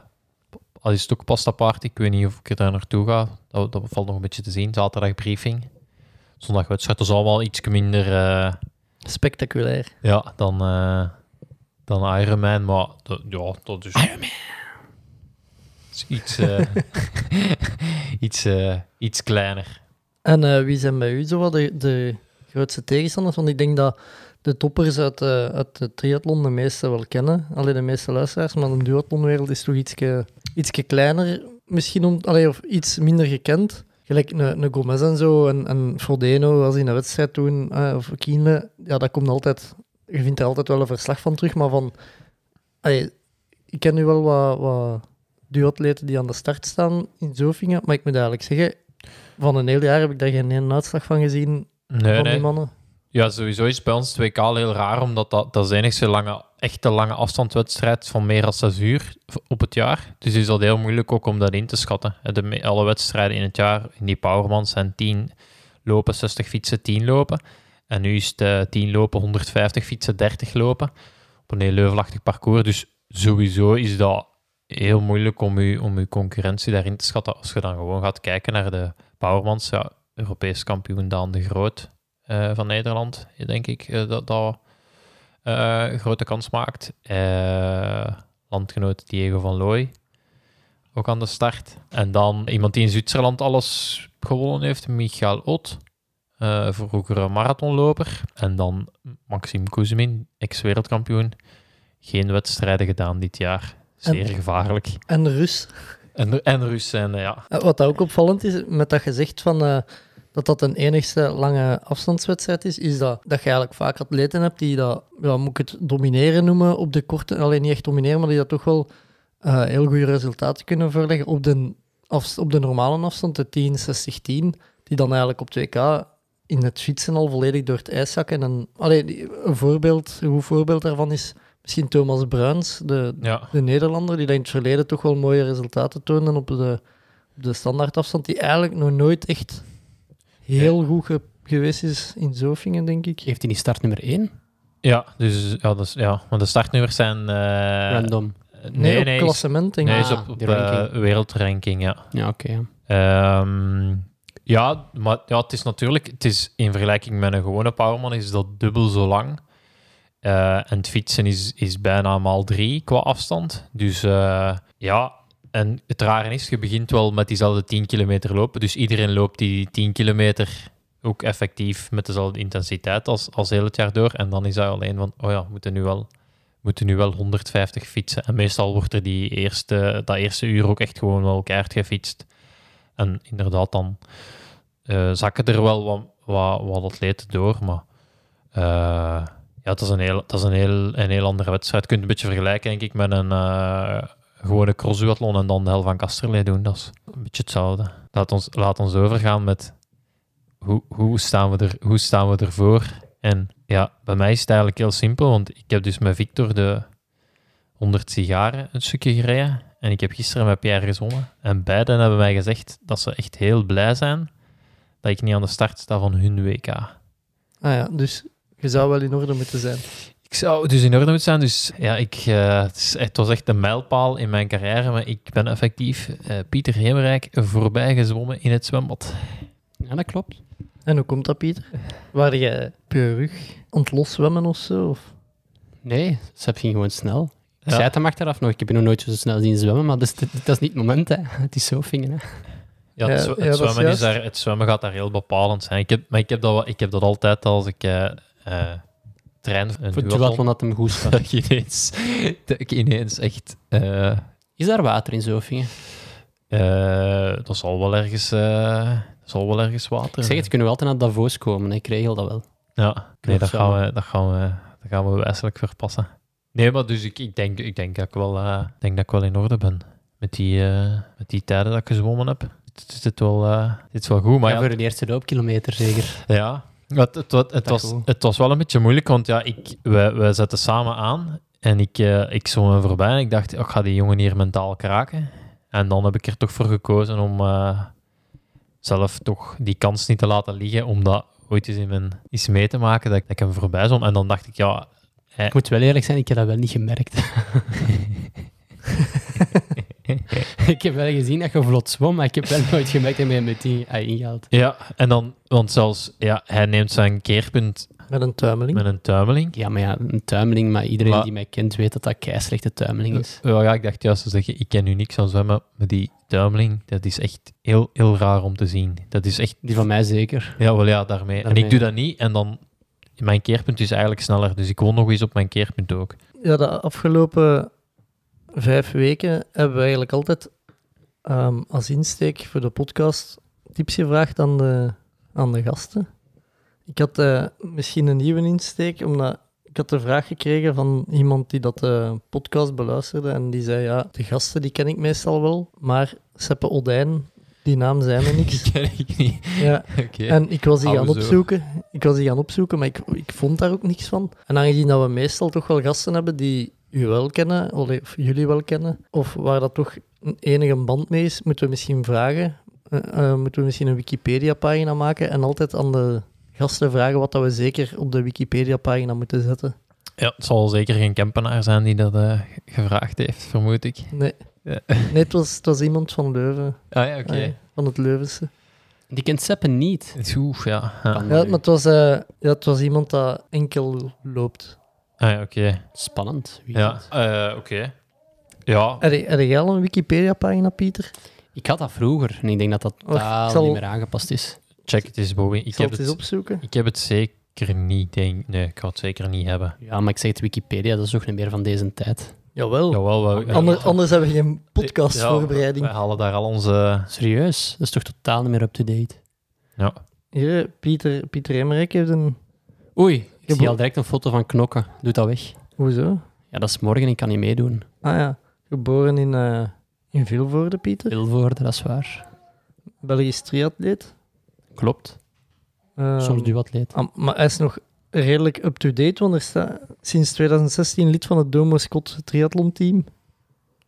[SPEAKER 8] al is het ook pasta party. Ik weet niet of ik er daar naartoe ga. Dat, dat valt nog een beetje te zien. Zaterdag briefing. Zondag wedstrijd. Dat is allemaal iets minder. eh,
[SPEAKER 7] Spectaculair.
[SPEAKER 8] ja, dan. eh dan Iron Man. Maar dat, ja, dat is. Iron Man! Iets, eh, <laughs> iets, eh, iets kleiner.
[SPEAKER 7] En eh, wie zijn bij u zo wat de, de grootste tegenstanders? Want ik denk dat de toppers uit, eh, uit de triathlon de meeste wel kennen. Alleen de meeste luisteraars. Maar de duathlonwereld is toch ietske, ietske kleiner. Misschien om, allee, of iets minder gekend. Gelijk een, een Gomez en zo. En, en Frodeno, als hij een wedstrijd doen. eh, of Kienle. Ja, dat komt altijd... Je vindt er altijd wel een verslag van terug. Maar van... allee, ik ken nu wel wat, wat duatleten die aan de start staan in Zofingen. Maar ik moet eigenlijk zeggen... Van een heel jaar heb ik daar geen ene uitslag van gezien
[SPEAKER 8] Nee,
[SPEAKER 7] van
[SPEAKER 8] nee.
[SPEAKER 7] die mannen.
[SPEAKER 8] Ja, sowieso is bij ons 2K al heel raar, omdat dat, dat is de enigste lange, echte lange afstandswedstrijd van meer dan 6 uur v- op het jaar. Dus is dat heel moeilijk ook om dat in te schatten. En De, me- alle wedstrijden in het jaar, in die powerman, zijn 10 lopen, 60 fietsen, 10 lopen. En nu is het eh, 10 lopen, 150 fietsen, 30 lopen. Op een heel leuvelachtig parcours. Dus sowieso is dat heel moeilijk om je om uw concurrentie daarin te schatten. Als je dan gewoon gaat kijken naar de powermans, ja, Europees kampioen Daan de Groot eh, van Nederland, denk ik, eh, dat dat eh, grote kans maakt. Eh, landgenoot Diego van Looy, ook aan de start. En dan iemand die in Zwitserland alles gewonnen heeft, Michael Ott, eh vroeger een marathonloper. En dan Maxime Koezemin, ex-wereldkampioen. Geen wedstrijden gedaan dit jaar. Zeer
[SPEAKER 7] En-
[SPEAKER 8] gevaarlijk.
[SPEAKER 7] En de Rus.
[SPEAKER 8] En, en Rus zijn, eh, ja.
[SPEAKER 7] Eh, Wat dat ook opvallend is, met dat gezicht van eh, dat dat een enigste lange afstandswedstrijd is, is dat, dat je eigenlijk vaak atleten hebt die dat, ja, moet ik het domineren noemen op de korte, alleen niet echt domineren, maar die dat toch wel eh, heel goede resultaten kunnen voorleggen op de, afs- op de normale afstand, de 10, 60, 10, die dan eigenlijk op 2K in het fietsen al volledig door het ijs zakken. En, allee, die- een, voorbeeld, een goed voorbeeld daarvan is misschien Thomas Bruins, de,
[SPEAKER 8] ja.
[SPEAKER 7] de Nederlander, die dat in het verleden toch wel mooie resultaten toonde op de, op de standaardafstand, die eigenlijk nog nooit echt heel goed ge- geweest is in Zofingen, denk ik.
[SPEAKER 9] Heeft hij niet start nummer 1?
[SPEAKER 8] Ja, dus, ja, dus, ja, want de startnummers zijn... eh,
[SPEAKER 9] Random.
[SPEAKER 7] Nee, op
[SPEAKER 8] is-
[SPEAKER 7] klassement, denk
[SPEAKER 8] Nee,
[SPEAKER 7] ik.
[SPEAKER 8] is
[SPEAKER 9] Ah,
[SPEAKER 8] op, op
[SPEAKER 9] die ranking.
[SPEAKER 8] eh, wereldranking, ja.
[SPEAKER 9] Ja, oké. ja.
[SPEAKER 8] Ehm, ja, maar ja, het is natuurlijk... Het is, in vergelijking met een gewone powerman is dat dubbel zo lang. Eh, en het fietsen is, is bijna maal drie qua afstand. Dus eh, ja, en het rare is, je begint wel met diezelfde 10 kilometer lopen. Dus iedereen loopt die 10 kilometer ook effectief met dezelfde intensiteit als, als heel het jaar door. En dan is dat alleen van, oh ja, we moeten nu wel moeten nu wel 150 fietsen. En meestal wordt er die eerste, dat eerste uur ook echt gewoon wel keihard gefietst. En inderdaad, dan eh, zakken er wel wat, wat, wat atleten door. Maar eh, ja, het is, een heel, het is een, heel, een heel andere wedstrijd. Je kunt het een beetje vergelijken, denk ik, met een eh, gewone crossduathlon en dan de hel van Kasterlee doen. Dat is een beetje hetzelfde. Laat ons, laat ons overgaan met hoe, hoe, staan we er, hoe staan we ervoor en ja, bij mij is het eigenlijk heel simpel, want ik heb dus met Victor de 100 sigaren een stukje gereden. En ik heb gisteren met Pierre gezongen. En beiden hebben mij gezegd dat ze echt heel blij zijn dat ik niet aan de start sta van hun WK.
[SPEAKER 7] Ah ja, dus je zou wel in orde moeten zijn.
[SPEAKER 8] Ik zou dus in orde moeten zijn. Dus ja, ik, eh, het, is- het was echt een mijlpaal in mijn carrière. Maar ik ben effectief eh, Pieter Heemrijk voorbij gezwommen in het zwembad.
[SPEAKER 9] Ja, dat klopt.
[SPEAKER 7] En hoe komt dat, Pieter? Waar je op je rug aan het loszwemmen of zo? Of?
[SPEAKER 9] Nee, Seb ging gewoon snel. Ik
[SPEAKER 8] Ja.
[SPEAKER 9] zei het hem achteraf nog, ik heb je nog nooit zo snel zien zwemmen, maar dat is, dat is niet het moment, hè. <laughs> Het is zo vingen, hè.
[SPEAKER 8] Ja, het,
[SPEAKER 7] Ja, ja,
[SPEAKER 8] zwe- het
[SPEAKER 7] dat is
[SPEAKER 8] zwemmen
[SPEAKER 7] juist.
[SPEAKER 8] is daar, het zwemmen gaat daar heel bepalend zijn. Ik heb, maar ik heb, dat, wel- ik heb dat altijd als ik eh eh, trein een
[SPEAKER 9] Voor het
[SPEAKER 8] duathlon,
[SPEAKER 9] duathlon dat hem goed staat.
[SPEAKER 8] dat ik <laughs> ineens, dat ik ineens echt... eh,
[SPEAKER 9] Is daar water in Zofingen?
[SPEAKER 8] eh, dat zal wel ergens... eh, dat zal wel ergens water. eh.
[SPEAKER 9] Ik zeg het, kunnen we altijd naar Davos komen, hè. ik regel dat wel.
[SPEAKER 8] Ja, nee, dat gaan,
[SPEAKER 9] zwemmen.
[SPEAKER 8] we, dat, gaan we, dat gaan we wijselijk verpassen. Nee, maar dus ik, ik, denk, ik, denk, dat ik, wel, eh, ik denk dat ik wel in orde ben. Met die, eh, met die tijden dat ik gezwommen heb. Het is dit wel, eh, dit is wel goed, maar
[SPEAKER 9] Maar
[SPEAKER 8] ja,
[SPEAKER 9] voor de eerste loopkilometer zeker.
[SPEAKER 8] Ja, het, het, het, het,
[SPEAKER 9] Dat
[SPEAKER 8] was,
[SPEAKER 9] goed.
[SPEAKER 8] het was wel een beetje moeilijk, want ja, ik, wij, wij zetten samen aan en ik, eh ik zwom hem voorbij en ik dacht, oh, ik ga die jongen hier mentaal kraken. En dan heb ik er toch voor gekozen om eh, zelf toch die kans niet te laten liggen, om dat ooit eens in mijn iets mee te maken, dat ik, dat ik hem voorbij zwom. En dan dacht ik, ja, Eh.
[SPEAKER 9] Ik moet wel eerlijk zijn, ik heb dat wel niet gemerkt. <laughs> ik heb wel gezien dat je vlot zwom, maar ik heb wel nooit gemerkt dat je met die ah, ingehaald.
[SPEAKER 8] Ja, en dan, want zelfs, ja, hij neemt zijn keerpunt
[SPEAKER 7] Met een tuimeling.
[SPEAKER 8] met een tuimeling.
[SPEAKER 9] Ja, maar ja, een tuimeling, maar iedereen
[SPEAKER 8] Maar-
[SPEAKER 9] die mij kent weet dat dat kei slechte tuimeling is.
[SPEAKER 8] Ja, ja, ik dacht juist te zeggen, ik ken nu niks aan zwemmen, maar die tuimeling, dat is echt heel, heel raar om te zien. Dat is echt,
[SPEAKER 9] Die van mij zeker.
[SPEAKER 8] ja, wel ja, daarmee. En
[SPEAKER 9] Daarmee.
[SPEAKER 8] ik doe dat niet en dan, mijn keerpunt is eigenlijk sneller, dus ik woon nog eens op mijn keerpunt ook. <laughs>
[SPEAKER 7] Ja, de afgelopen vijf weken hebben we eigenlijk altijd ehm, als insteek voor de podcast tips gevraagd aan de, aan de gasten. Ik had eh, misschien een nieuwe insteek, omdat ik had de vraag gekregen van iemand die dat eh, podcast beluisterde en die zei, ja, de gasten die ken ik meestal wel, maar Seppe Odijn, die naam zei me
[SPEAKER 8] <laughs>
[SPEAKER 7] niks.
[SPEAKER 8] ken ik niet.
[SPEAKER 7] ja.
[SPEAKER 8] Oké.
[SPEAKER 7] En ik was die gaan
[SPEAKER 8] Oude zo.
[SPEAKER 7] opzoeken. Ik was die gaan opzoeken, maar ik, ik vond daar ook niks van. En aangezien dat we meestal toch wel gasten hebben die u wel kennen, allee, of jullie wel kennen, of waar dat toch een enige band mee is, moeten we misschien vragen. eh, eh, moeten we misschien een Wikipedia-pagina maken en altijd aan de gasten vragen wat dat we zeker op de Wikipedia-pagina moeten zetten.
[SPEAKER 8] Ja, het zal zeker geen Kempenaar zijn die dat eh, gevraagd heeft, vermoed ik.
[SPEAKER 7] Nee,
[SPEAKER 8] Ja.
[SPEAKER 7] nee het, was, het was iemand van Leuven,
[SPEAKER 8] Ah ja, oké.
[SPEAKER 7] Allee, van het Leuvense.
[SPEAKER 9] Die kent Seppen niet.
[SPEAKER 8] Het is oef, ja.
[SPEAKER 9] Kan
[SPEAKER 8] ja.
[SPEAKER 9] dat
[SPEAKER 7] Ja,
[SPEAKER 9] nu?
[SPEAKER 7] maar het was, eh, ja, het was iemand dat enkel loopt.
[SPEAKER 8] Ah ja, oké.
[SPEAKER 9] Spannend. Wie
[SPEAKER 8] Ja,
[SPEAKER 9] weet.
[SPEAKER 8] eh, oké. Ja,
[SPEAKER 7] Heb je- heb jij al een Wikipedia-pagina, Pieter?
[SPEAKER 9] Ik had dat vroeger en ik denk dat dat
[SPEAKER 7] Och, ik
[SPEAKER 9] totaal
[SPEAKER 7] zal-
[SPEAKER 9] niet meer aangepast is.
[SPEAKER 8] check het eens, Bobby. Ik
[SPEAKER 7] Ik zal
[SPEAKER 8] heb
[SPEAKER 7] het eens
[SPEAKER 8] het,
[SPEAKER 7] opzoeken.
[SPEAKER 8] ik heb het zeker niet, denk Nee, ik ga het zeker niet hebben.
[SPEAKER 9] Ja, maar ik zeg het, Wikipedia, dat is ook niet meer van deze tijd.
[SPEAKER 7] Jawel.
[SPEAKER 8] Jawel, we,
[SPEAKER 7] Oh, Ander- anders hebben we geen
[SPEAKER 8] Ja,
[SPEAKER 7] podcastvoorbereiding.
[SPEAKER 8] We halen daar al onze...
[SPEAKER 9] Serieus, dat is toch totaal niet meer up-to-date?
[SPEAKER 8] Ja.
[SPEAKER 7] Hier, Pieter, Pieter Emmerich heeft een...
[SPEAKER 9] Oei, ik
[SPEAKER 7] heb
[SPEAKER 9] zie
[SPEAKER 7] ook-
[SPEAKER 9] al direct een foto van Knokken. Doe dat weg.
[SPEAKER 7] Hoezo?
[SPEAKER 9] Ja, dat is morgen, ik kan niet meedoen.
[SPEAKER 7] Ah ja, geboren in, eh in Vilvoorde, Pieter.
[SPEAKER 9] Wilvoorde, dat is waar.
[SPEAKER 7] Belgisch triatleet.
[SPEAKER 9] Klopt.
[SPEAKER 7] Ehm,
[SPEAKER 9] Soms duatleet.
[SPEAKER 7] ah, maar hij is nog redelijk up-to-date, want er staat sinds 2016 lid van het Domo Scott triathlon team.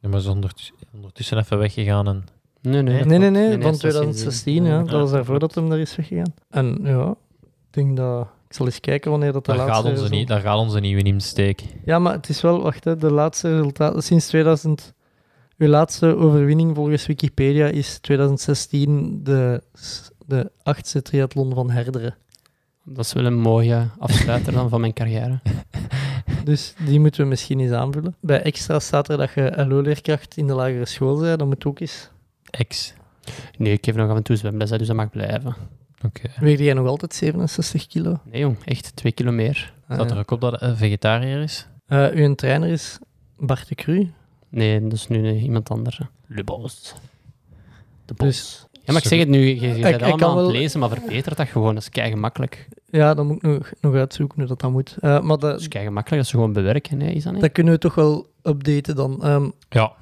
[SPEAKER 8] Ja, maar ze is ondert- ondertussen even weggegaan en...
[SPEAKER 9] Nee, nee. dat
[SPEAKER 7] Nee, nee,
[SPEAKER 9] klopt.
[SPEAKER 7] nee, van
[SPEAKER 9] dat is sindsdien.
[SPEAKER 7] 2016. Ja.
[SPEAKER 9] Nee,
[SPEAKER 7] Dat was daarvoor dat hem daar is weggegaan. En ja, ik denk dat... Ik zal eens kijken wanneer dat de
[SPEAKER 8] Daar
[SPEAKER 7] laatste...
[SPEAKER 8] gaat, onze
[SPEAKER 7] result-
[SPEAKER 8] nie, daar gaat onze nieuwe insteek.
[SPEAKER 7] Ja, maar het is wel, wacht, hè, de laatste resultaten sinds 2000. Uw laatste overwinning volgens Wikipedia is 2016 de, s- de achtste triathlon van Herderen.
[SPEAKER 9] Dat is wel een mooie afsluiter dan van mijn carrière.
[SPEAKER 7] Dus die moeten we misschien eens aanvullen. Bij extra staat er dat je LO-leerkracht in de lagere school bent. Dat moet ook eens.
[SPEAKER 8] Ex.
[SPEAKER 9] Nee, ik geef nog af en toe zwemles, hè, dus dat mag blijven.
[SPEAKER 8] Oké.
[SPEAKER 7] Weegde jij nog altijd 67 kilo?
[SPEAKER 9] Nee jong, echt twee kilo meer.
[SPEAKER 7] Ah,
[SPEAKER 8] Staat er ook op dat hij een vegetariër is?
[SPEAKER 7] Eh, uw trainer is Bart de Cru.
[SPEAKER 9] Nee, dat is nu eh, iemand anders. hè. Le Bos. De Bos.
[SPEAKER 7] Dus
[SPEAKER 9] ja, maar ik zeg het nu, je, je bent
[SPEAKER 7] ik
[SPEAKER 9] allemaal
[SPEAKER 7] kan
[SPEAKER 9] aan het
[SPEAKER 7] wel-
[SPEAKER 9] lezen, maar verbeter dat gewoon. Dat is kei gemakkelijk.
[SPEAKER 7] ja, dan moet ik nog, nog uitzoeken hoe dat, dat moet. Eh, maar
[SPEAKER 9] Dat is
[SPEAKER 7] dat,
[SPEAKER 9] kei gemakkelijk dat ze gewoon bewerken, hè, is dat niet?
[SPEAKER 7] dat kunnen we toch wel updaten dan. Ehm,
[SPEAKER 8] Ja.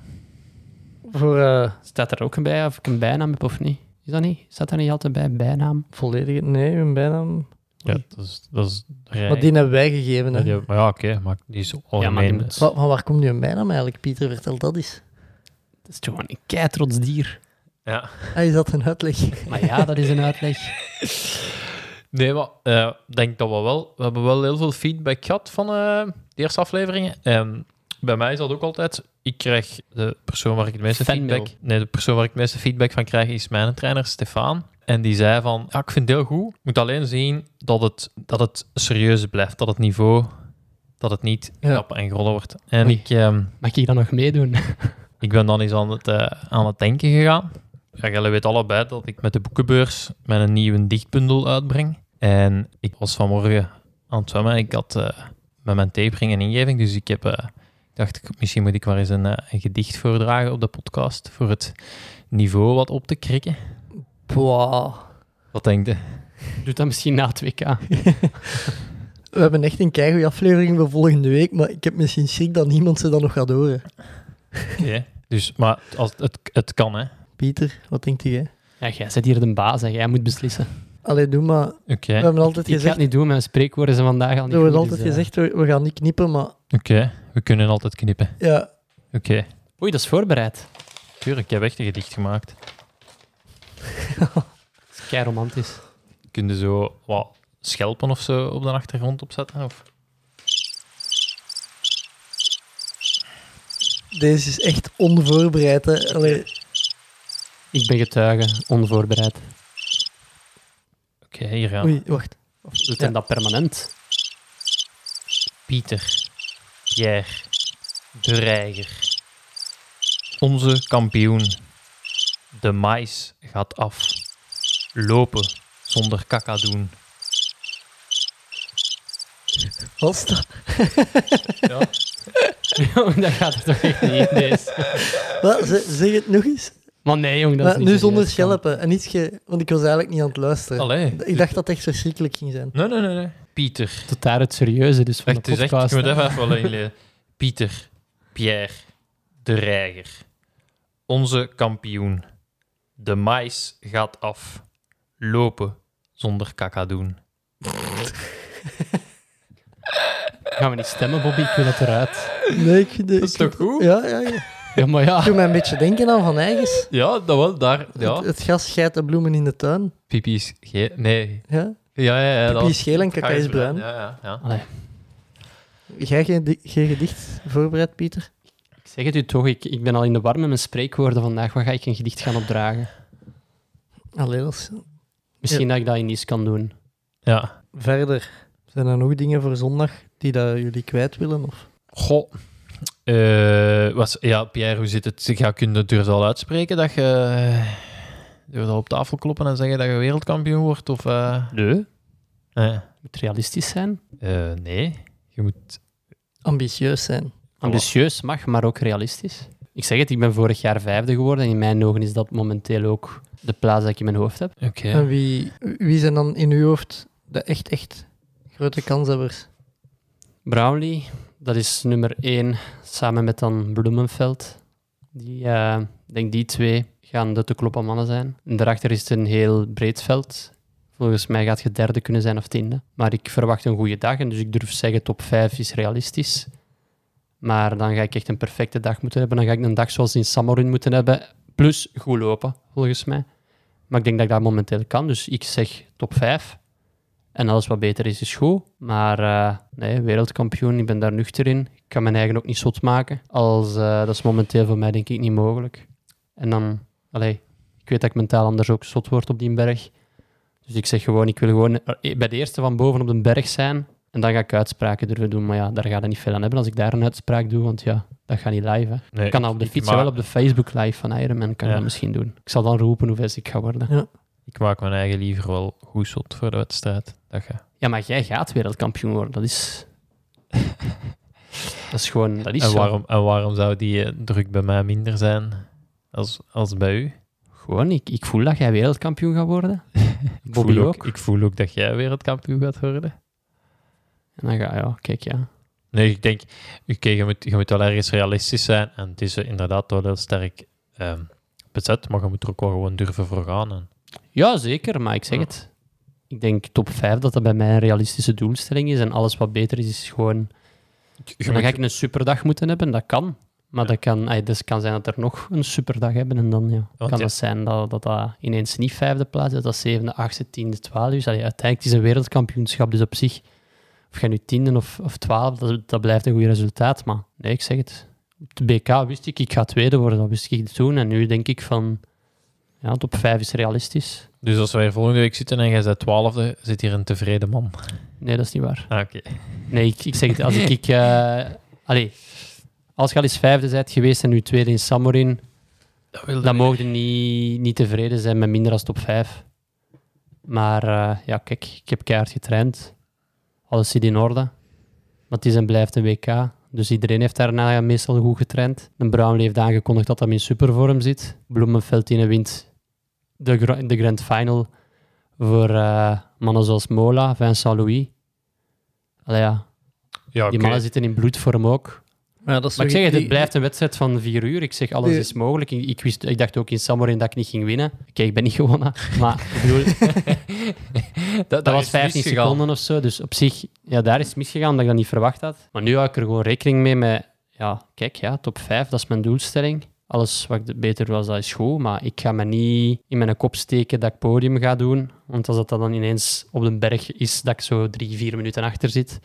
[SPEAKER 7] voor eh,
[SPEAKER 9] Staat er ook een bij of ik een bijnaam heb of niet? Is dat niet? Staat er niet altijd bij bijnaam?
[SPEAKER 7] volledige... Nee, uw bijnaam...
[SPEAKER 8] Ja, dat is... Dat is
[SPEAKER 7] Maar die hebben wij gegeven. Hè.
[SPEAKER 8] Ja, die- maar ja, oké, maar die is
[SPEAKER 9] Ja, Oh, maar die
[SPEAKER 8] algemeen.
[SPEAKER 9] moet-
[SPEAKER 7] Wa- Van waar komt nu een bijnaam eigenlijk, Pieter? Vertel dat eens.
[SPEAKER 9] Dat is toch gewoon een kei trots <laughs> dier.
[SPEAKER 8] Ja.
[SPEAKER 7] Ah, is dat een uitleg?
[SPEAKER 9] Maar ja, dat is <laughs> een uitleg.
[SPEAKER 8] Nee, maar eh, ik denk dat we wel... We hebben wel heel veel feedback gehad van eh, de eerste afleveringen. En bij mij is dat ook altijd... Ik krijg de persoon waar ik het meeste
[SPEAKER 9] Fanmail.
[SPEAKER 8] feedback... Nee, de persoon waar ik het meeste feedback van krijg is mijn trainer, Stefan. En die zei van, ja, ik vind het heel goed. Ik moet alleen zien dat het, dat het serieus blijft. Dat het niveau... Dat het niet
[SPEAKER 7] Ja.
[SPEAKER 8] knap en grollen wordt. En
[SPEAKER 9] Oei.
[SPEAKER 8] ik... ehm,
[SPEAKER 9] Mag ik dan nog meedoen? <laughs>
[SPEAKER 8] Ik ben dan eens aan het, eh, aan het denken gegaan. Ja, jullie weten allebei dat ik met de boekenbeurs mijn nieuwe dichtbundel uitbreng. En ik was vanmorgen aan het zwemmen. Ik had eh, met mijn tapering een ingeving, dus ik heb, eh, ik dacht ik, misschien moet ik maar eens een, eh, een gedicht voordragen op de podcast voor het niveau wat op te krikken.
[SPEAKER 7] Boah.
[SPEAKER 8] Wat denk je?
[SPEAKER 9] Doe dat misschien na 2K.
[SPEAKER 7] We hebben echt een keigoede aflevering voor volgende week, maar ik heb misschien schrik dat niemand ze dan nog gaat horen.
[SPEAKER 8] Oké. dus, maar als, het, het kan, hè.
[SPEAKER 7] Pieter, wat denkt jij?
[SPEAKER 9] Ja, jij zit hier de baas en jij moet beslissen.
[SPEAKER 7] Allee, doe maar. We
[SPEAKER 8] Oké,
[SPEAKER 7] hebben altijd
[SPEAKER 9] ik ga het
[SPEAKER 7] gezegd,
[SPEAKER 9] niet doen, mijn spreekwoorden zijn vandaag al
[SPEAKER 7] we
[SPEAKER 9] niet
[SPEAKER 7] hebben
[SPEAKER 9] goed,
[SPEAKER 7] altijd
[SPEAKER 9] dus, eh.
[SPEAKER 7] gezegd we, we gaan niet knippen, maar
[SPEAKER 8] oké. We kunnen altijd knippen.
[SPEAKER 7] ja,
[SPEAKER 8] Oké.
[SPEAKER 9] Oei, dat is voorbereid.
[SPEAKER 8] Tuurlijk, ik heb echt een gedicht gemaakt.
[SPEAKER 9] Dat is kei romantisch.
[SPEAKER 8] Kun je zo wat schelpen of zo op de achtergrond opzetten? Of?
[SPEAKER 7] Deze is echt onvoorbereid. Hè. Allee,
[SPEAKER 9] Ik ben getuige, onvoorbereid.
[SPEAKER 8] Oké, hier gaan we.
[SPEAKER 7] Oei, wacht.
[SPEAKER 9] Doet
[SPEAKER 7] Ja.
[SPEAKER 9] hij dat <laughs> permanent?
[SPEAKER 8] Pieter, Pierre, De Reiger. Onze kampioen. De mais gaat af. Lopen zonder kakka doen.
[SPEAKER 7] Wat is dat?
[SPEAKER 9] Jong, dat gaat er toch echt niet in, deze.
[SPEAKER 7] Wat? Zeg- Zeg het nog eens.
[SPEAKER 9] Maar nee, jong, dat is
[SPEAKER 7] Maar
[SPEAKER 9] niet
[SPEAKER 7] nu
[SPEAKER 9] serieus,
[SPEAKER 7] zonder
[SPEAKER 9] man.
[SPEAKER 7] schelpen. En niet ge... Want ik was eigenlijk niet aan het luisteren.
[SPEAKER 8] Allee.
[SPEAKER 7] Ik dacht dat het echt verschrikkelijk ging zijn.
[SPEAKER 8] Nee, nee, nee. nee. Pieter.
[SPEAKER 9] Tot daar het serieuze dus van
[SPEAKER 8] Echt, het
[SPEAKER 9] de
[SPEAKER 8] is echt, ik
[SPEAKER 9] podcast.
[SPEAKER 8] moet
[SPEAKER 9] hè.
[SPEAKER 8] even even wel <laughs> inlezen. Pieter, Pierre, De Reiger. Onze kampioen. De mais gaat af. Lopen zonder kakka doen.
[SPEAKER 9] Gaan we niet stemmen, Bobby? Ik wil het eruit.
[SPEAKER 7] Nee, ik vind Dat
[SPEAKER 8] is toch goed?
[SPEAKER 7] Ja, ja, ja.
[SPEAKER 9] Ja, maar ja.
[SPEAKER 7] Ik doe mij een beetje denken aan Van Eigens.
[SPEAKER 8] Ja, dat wel. Daar,
[SPEAKER 7] Het,
[SPEAKER 8] ja.
[SPEAKER 7] het gras scheidt de bloemen in de tuin.
[SPEAKER 8] Pipi's ge- Nee.
[SPEAKER 7] Ja?
[SPEAKER 8] Ja, ja, ja.
[SPEAKER 7] Pipi
[SPEAKER 8] dat-
[SPEAKER 7] is geel en
[SPEAKER 8] Ga
[SPEAKER 7] kaka
[SPEAKER 8] je
[SPEAKER 7] is
[SPEAKER 8] eens
[SPEAKER 7] bruin.
[SPEAKER 8] Ja, ja, ja.
[SPEAKER 7] Jij geen, di- geen gedicht voorbereid, Pieter?
[SPEAKER 9] Ik zeg het u toch, ik, ik ben al in de war met mijn spreekwoorden vandaag. Wat ga ik een gedicht gaan opdragen?
[SPEAKER 7] Allee, dat is-
[SPEAKER 9] Misschien dat ik dat in iets kan doen.
[SPEAKER 8] ja.
[SPEAKER 7] Verder, zijn er nog dingen voor zondag die dat jullie kwijt willen? Of?
[SPEAKER 8] Goh. Eh, was, ja, Pierre, hoe zit het? Ja, kun je het durf al uitspreken dat je... eh, Durf al op tafel kloppen en zeggen dat je wereldkampioen wordt? Of, eh,
[SPEAKER 9] Nee.
[SPEAKER 8] eh,
[SPEAKER 9] Moet realistisch zijn.
[SPEAKER 8] eh, nee. Je moet...
[SPEAKER 7] Ambitieus zijn.
[SPEAKER 9] Ambitieus mag, maar ook realistisch. Ik zeg het, ik ben vorig jaar vijfde geworden. En in mijn ogen is dat momenteel ook de plaats dat ik eh, in mijn hoofd heb.
[SPEAKER 8] Oké.
[SPEAKER 7] En wie, wie zijn dan in uw hoofd de echt, echt grote kanshebbers?
[SPEAKER 9] Brownlee, dat is nummer één, samen met dan Bloemenveld. Die, eh, ik denk die twee gaan de te kloppen mannen zijn. En daarachter is het een heel breed veld. Volgens mij gaat je derde kunnen zijn of tiende. Maar ik verwacht een goede dag, en dus ik durf zeggen top 5 is realistisch. Maar dan ga ik echt een perfecte dag moeten hebben. Dan ga ik een dag zoals in Samarin moeten hebben. Plus goed lopen, volgens mij. Maar ik denk dat ik dat momenteel kan. Dus ik zeg top 5. En alles wat beter is, is goed. Maar eh, nee, wereldkampioen, ik ben daar nuchter in. Ik kan mijn eigen ook niet zot maken. Als, eh, dat is momenteel voor mij denk ik niet mogelijk. En dan, allee, ik weet dat ik mentaal anders ook zot word op die berg. Dus ik zeg gewoon, ik wil gewoon eh, bij de eerste van boven op de berg zijn. En dan ga ik uitspraken durven doen. Maar ja, daar gaat het niet veel aan hebben als ik daar een uitspraak doe. Want ja, dat gaat niet live. Hè.
[SPEAKER 8] Nee,
[SPEAKER 9] ik kan dat op de fiets, ja, wel op de Facebook live van Ironman kan
[SPEAKER 8] Ja.
[SPEAKER 9] ik dat misschien doen. Ik zal dan roepen hoe vet ik ga worden.
[SPEAKER 8] Ik maak mijn eigen liever wel goed zot voor de wedstrijd. Dat je...
[SPEAKER 9] Ja, maar jij gaat wereldkampioen worden.
[SPEAKER 8] <laughs>
[SPEAKER 9] Dat is. dat is gewoon. Dat is
[SPEAKER 8] en,
[SPEAKER 9] zo.
[SPEAKER 8] waarom, en waarom zou die eh, druk bij mij minder zijn als, als bij u?
[SPEAKER 9] Gewoon, ik, ik voel dat jij wereldkampioen gaat worden.
[SPEAKER 8] <laughs> Ik
[SPEAKER 9] Bobby
[SPEAKER 8] voel
[SPEAKER 9] ook.
[SPEAKER 8] Ik voel ook dat jij wereldkampioen gaat worden.
[SPEAKER 9] En dan ga ja, kijk ja.
[SPEAKER 8] Nee, ik denk, oké, je, moet, je moet wel ergens realistisch zijn. En het is eh, inderdaad wel heel sterk ehm, bezet, maar je moet er ook wel gewoon durven voor gaan. En,
[SPEAKER 9] Ja, zeker, maar ik zeg
[SPEAKER 8] Ja.
[SPEAKER 9] het. Ik denk top 5 dat dat bij mij een realistische doelstelling is. En alles wat beter is, is gewoon. Dan ga ik een superdag moeten hebben, dat kan. Maar dat kan, ay, dus het kan zijn dat er nog een superdag hebben. En dan ja, kan
[SPEAKER 8] ja.
[SPEAKER 9] het zijn dat, dat dat ineens niet vijfde plaats is, dat zevende, achtste, tiende, twaalfde. Dus allee, uiteindelijk is het een wereldkampioenschap. Dus op zich, of je nu tiende of, of twaalfde, dat, dat blijft een goed resultaat. Maar nee, ik zeg het. Op de BK wist ik, ik ga tweede worden. Dat wist ik toen. En nu denk ik van, ja, top vijf is realistisch.
[SPEAKER 8] dus als wij volgende week zitten en jij bent twaalfde, zit hier een tevreden man.
[SPEAKER 9] Nee, dat is niet waar.
[SPEAKER 8] Ah, Oké.
[SPEAKER 9] Nee, ik, ik zeg het, als ik... ik eh, allee, als je al eens vijfde bent geweest en nu tweede in Samorin,
[SPEAKER 8] Dat wil
[SPEAKER 9] Dan mogen niet, niet tevreden zijn met minder dan top 5. Maar eh, ja, kijk, ik heb keihard getraind. Alles zit in orde. Maar het is en blijft een WK. Dus iedereen heeft daarna meestal goed getraind. Een Brown heeft aangekondigd dat hij in supervorm zit. Bloemenveld in wint de, gro- de grand final voor eh, mannen zoals Mola, Vincent Louis. Allee, ja,
[SPEAKER 8] Ja,
[SPEAKER 9] Die
[SPEAKER 8] oké.
[SPEAKER 9] mannen zitten in bloedvorm ook.
[SPEAKER 7] Maar, dat is
[SPEAKER 9] Maar ik
[SPEAKER 7] toch-
[SPEAKER 9] zeg het, het
[SPEAKER 7] die-
[SPEAKER 9] blijft een wedstrijd van vier uur. Ik zeg, alles
[SPEAKER 7] Die-
[SPEAKER 9] is mogelijk. Ik, ik, wist, ik dacht ook in Samorin dat ik niet ging winnen. Oké, ik ben niet gewonnen. <laughs> Maar ik bedoel, dat, was
[SPEAKER 8] is
[SPEAKER 9] 15
[SPEAKER 8] misgegaan.
[SPEAKER 9] seconden of zo. Dus op zich, ja, daar is het misgegaan omdat ik dat niet verwacht had. Maar nu hou ik er gewoon rekening mee met... Ja, kijk, ja, top 5, dat is mijn doelstelling. Alles wat ik beter was, dat is goed. Maar ik ga me niet in mijn kop steken dat ik podium ga doen. Want als dat dan ineens op de berg is, dat ik zo drie, vier minuten achter zit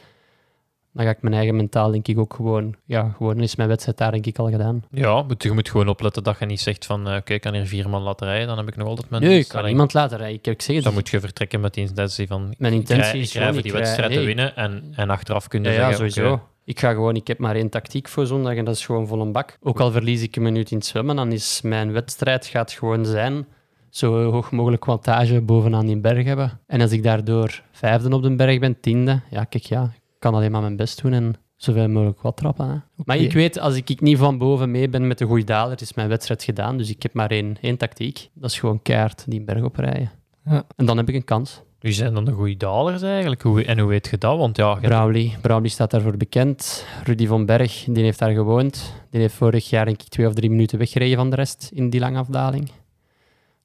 [SPEAKER 9] dan ga ik mijn eigen mentaal denk ik ook gewoon... Ja, gewoon is mijn wedstrijd daar denk ik al gedaan.
[SPEAKER 8] Ja, moet, je moet gewoon opletten dat je niet zegt van eh, oké, ik kan hier vier man laten rijden, dan heb ik nog altijd mijn
[SPEAKER 9] Nee, ik kan
[SPEAKER 8] instelling.
[SPEAKER 9] niemand laten rijden. Ik, ik zeg het,
[SPEAKER 8] Dan moet je vertrekken met die intentie van
[SPEAKER 9] mijn
[SPEAKER 8] ik rij-
[SPEAKER 9] intentie
[SPEAKER 8] ik
[SPEAKER 9] is
[SPEAKER 8] rij
[SPEAKER 9] gewoon,
[SPEAKER 8] voor die
[SPEAKER 9] ik rij-
[SPEAKER 8] wedstrijd te
[SPEAKER 9] nee,
[SPEAKER 8] winnen en, en achteraf kun je
[SPEAKER 9] Ja, ja,
[SPEAKER 8] zeggen
[SPEAKER 9] sowieso.
[SPEAKER 8] oké,
[SPEAKER 9] Ik ga gewoon, ik heb maar één tactiek voor zondag en dat is gewoon vol een bak. Ook al verlies ik een minuut in het zwemmen, dan is mijn wedstrijd gaat gewoon zijn zo hoog mogelijk wattage bovenaan die berg hebben. En als ik daardoor vijfde op de berg ben, tiende, ja kijk ja, ik kan alleen maar mijn best doen en zoveel mogelijk wat trappen. Hè. Maar ik weet, als ik, ik niet van boven mee ben met de goede daler, is mijn wedstrijd gedaan. Dus ik heb maar één, één tactiek. Dat is gewoon keihard die berg oprijden.
[SPEAKER 7] Ja.
[SPEAKER 9] En dan heb ik een kans.
[SPEAKER 8] die zijn dan de goede dalers eigenlijk. Hoe, en hoe weet je dat? Want ja, je-
[SPEAKER 9] Brouwli. Brouwli staat daarvoor bekend. Rudy van Berg, die heeft daar gewoond. Die heeft vorig jaar denk ik twee of drie minuten weggereden van de rest in die lange afdaling.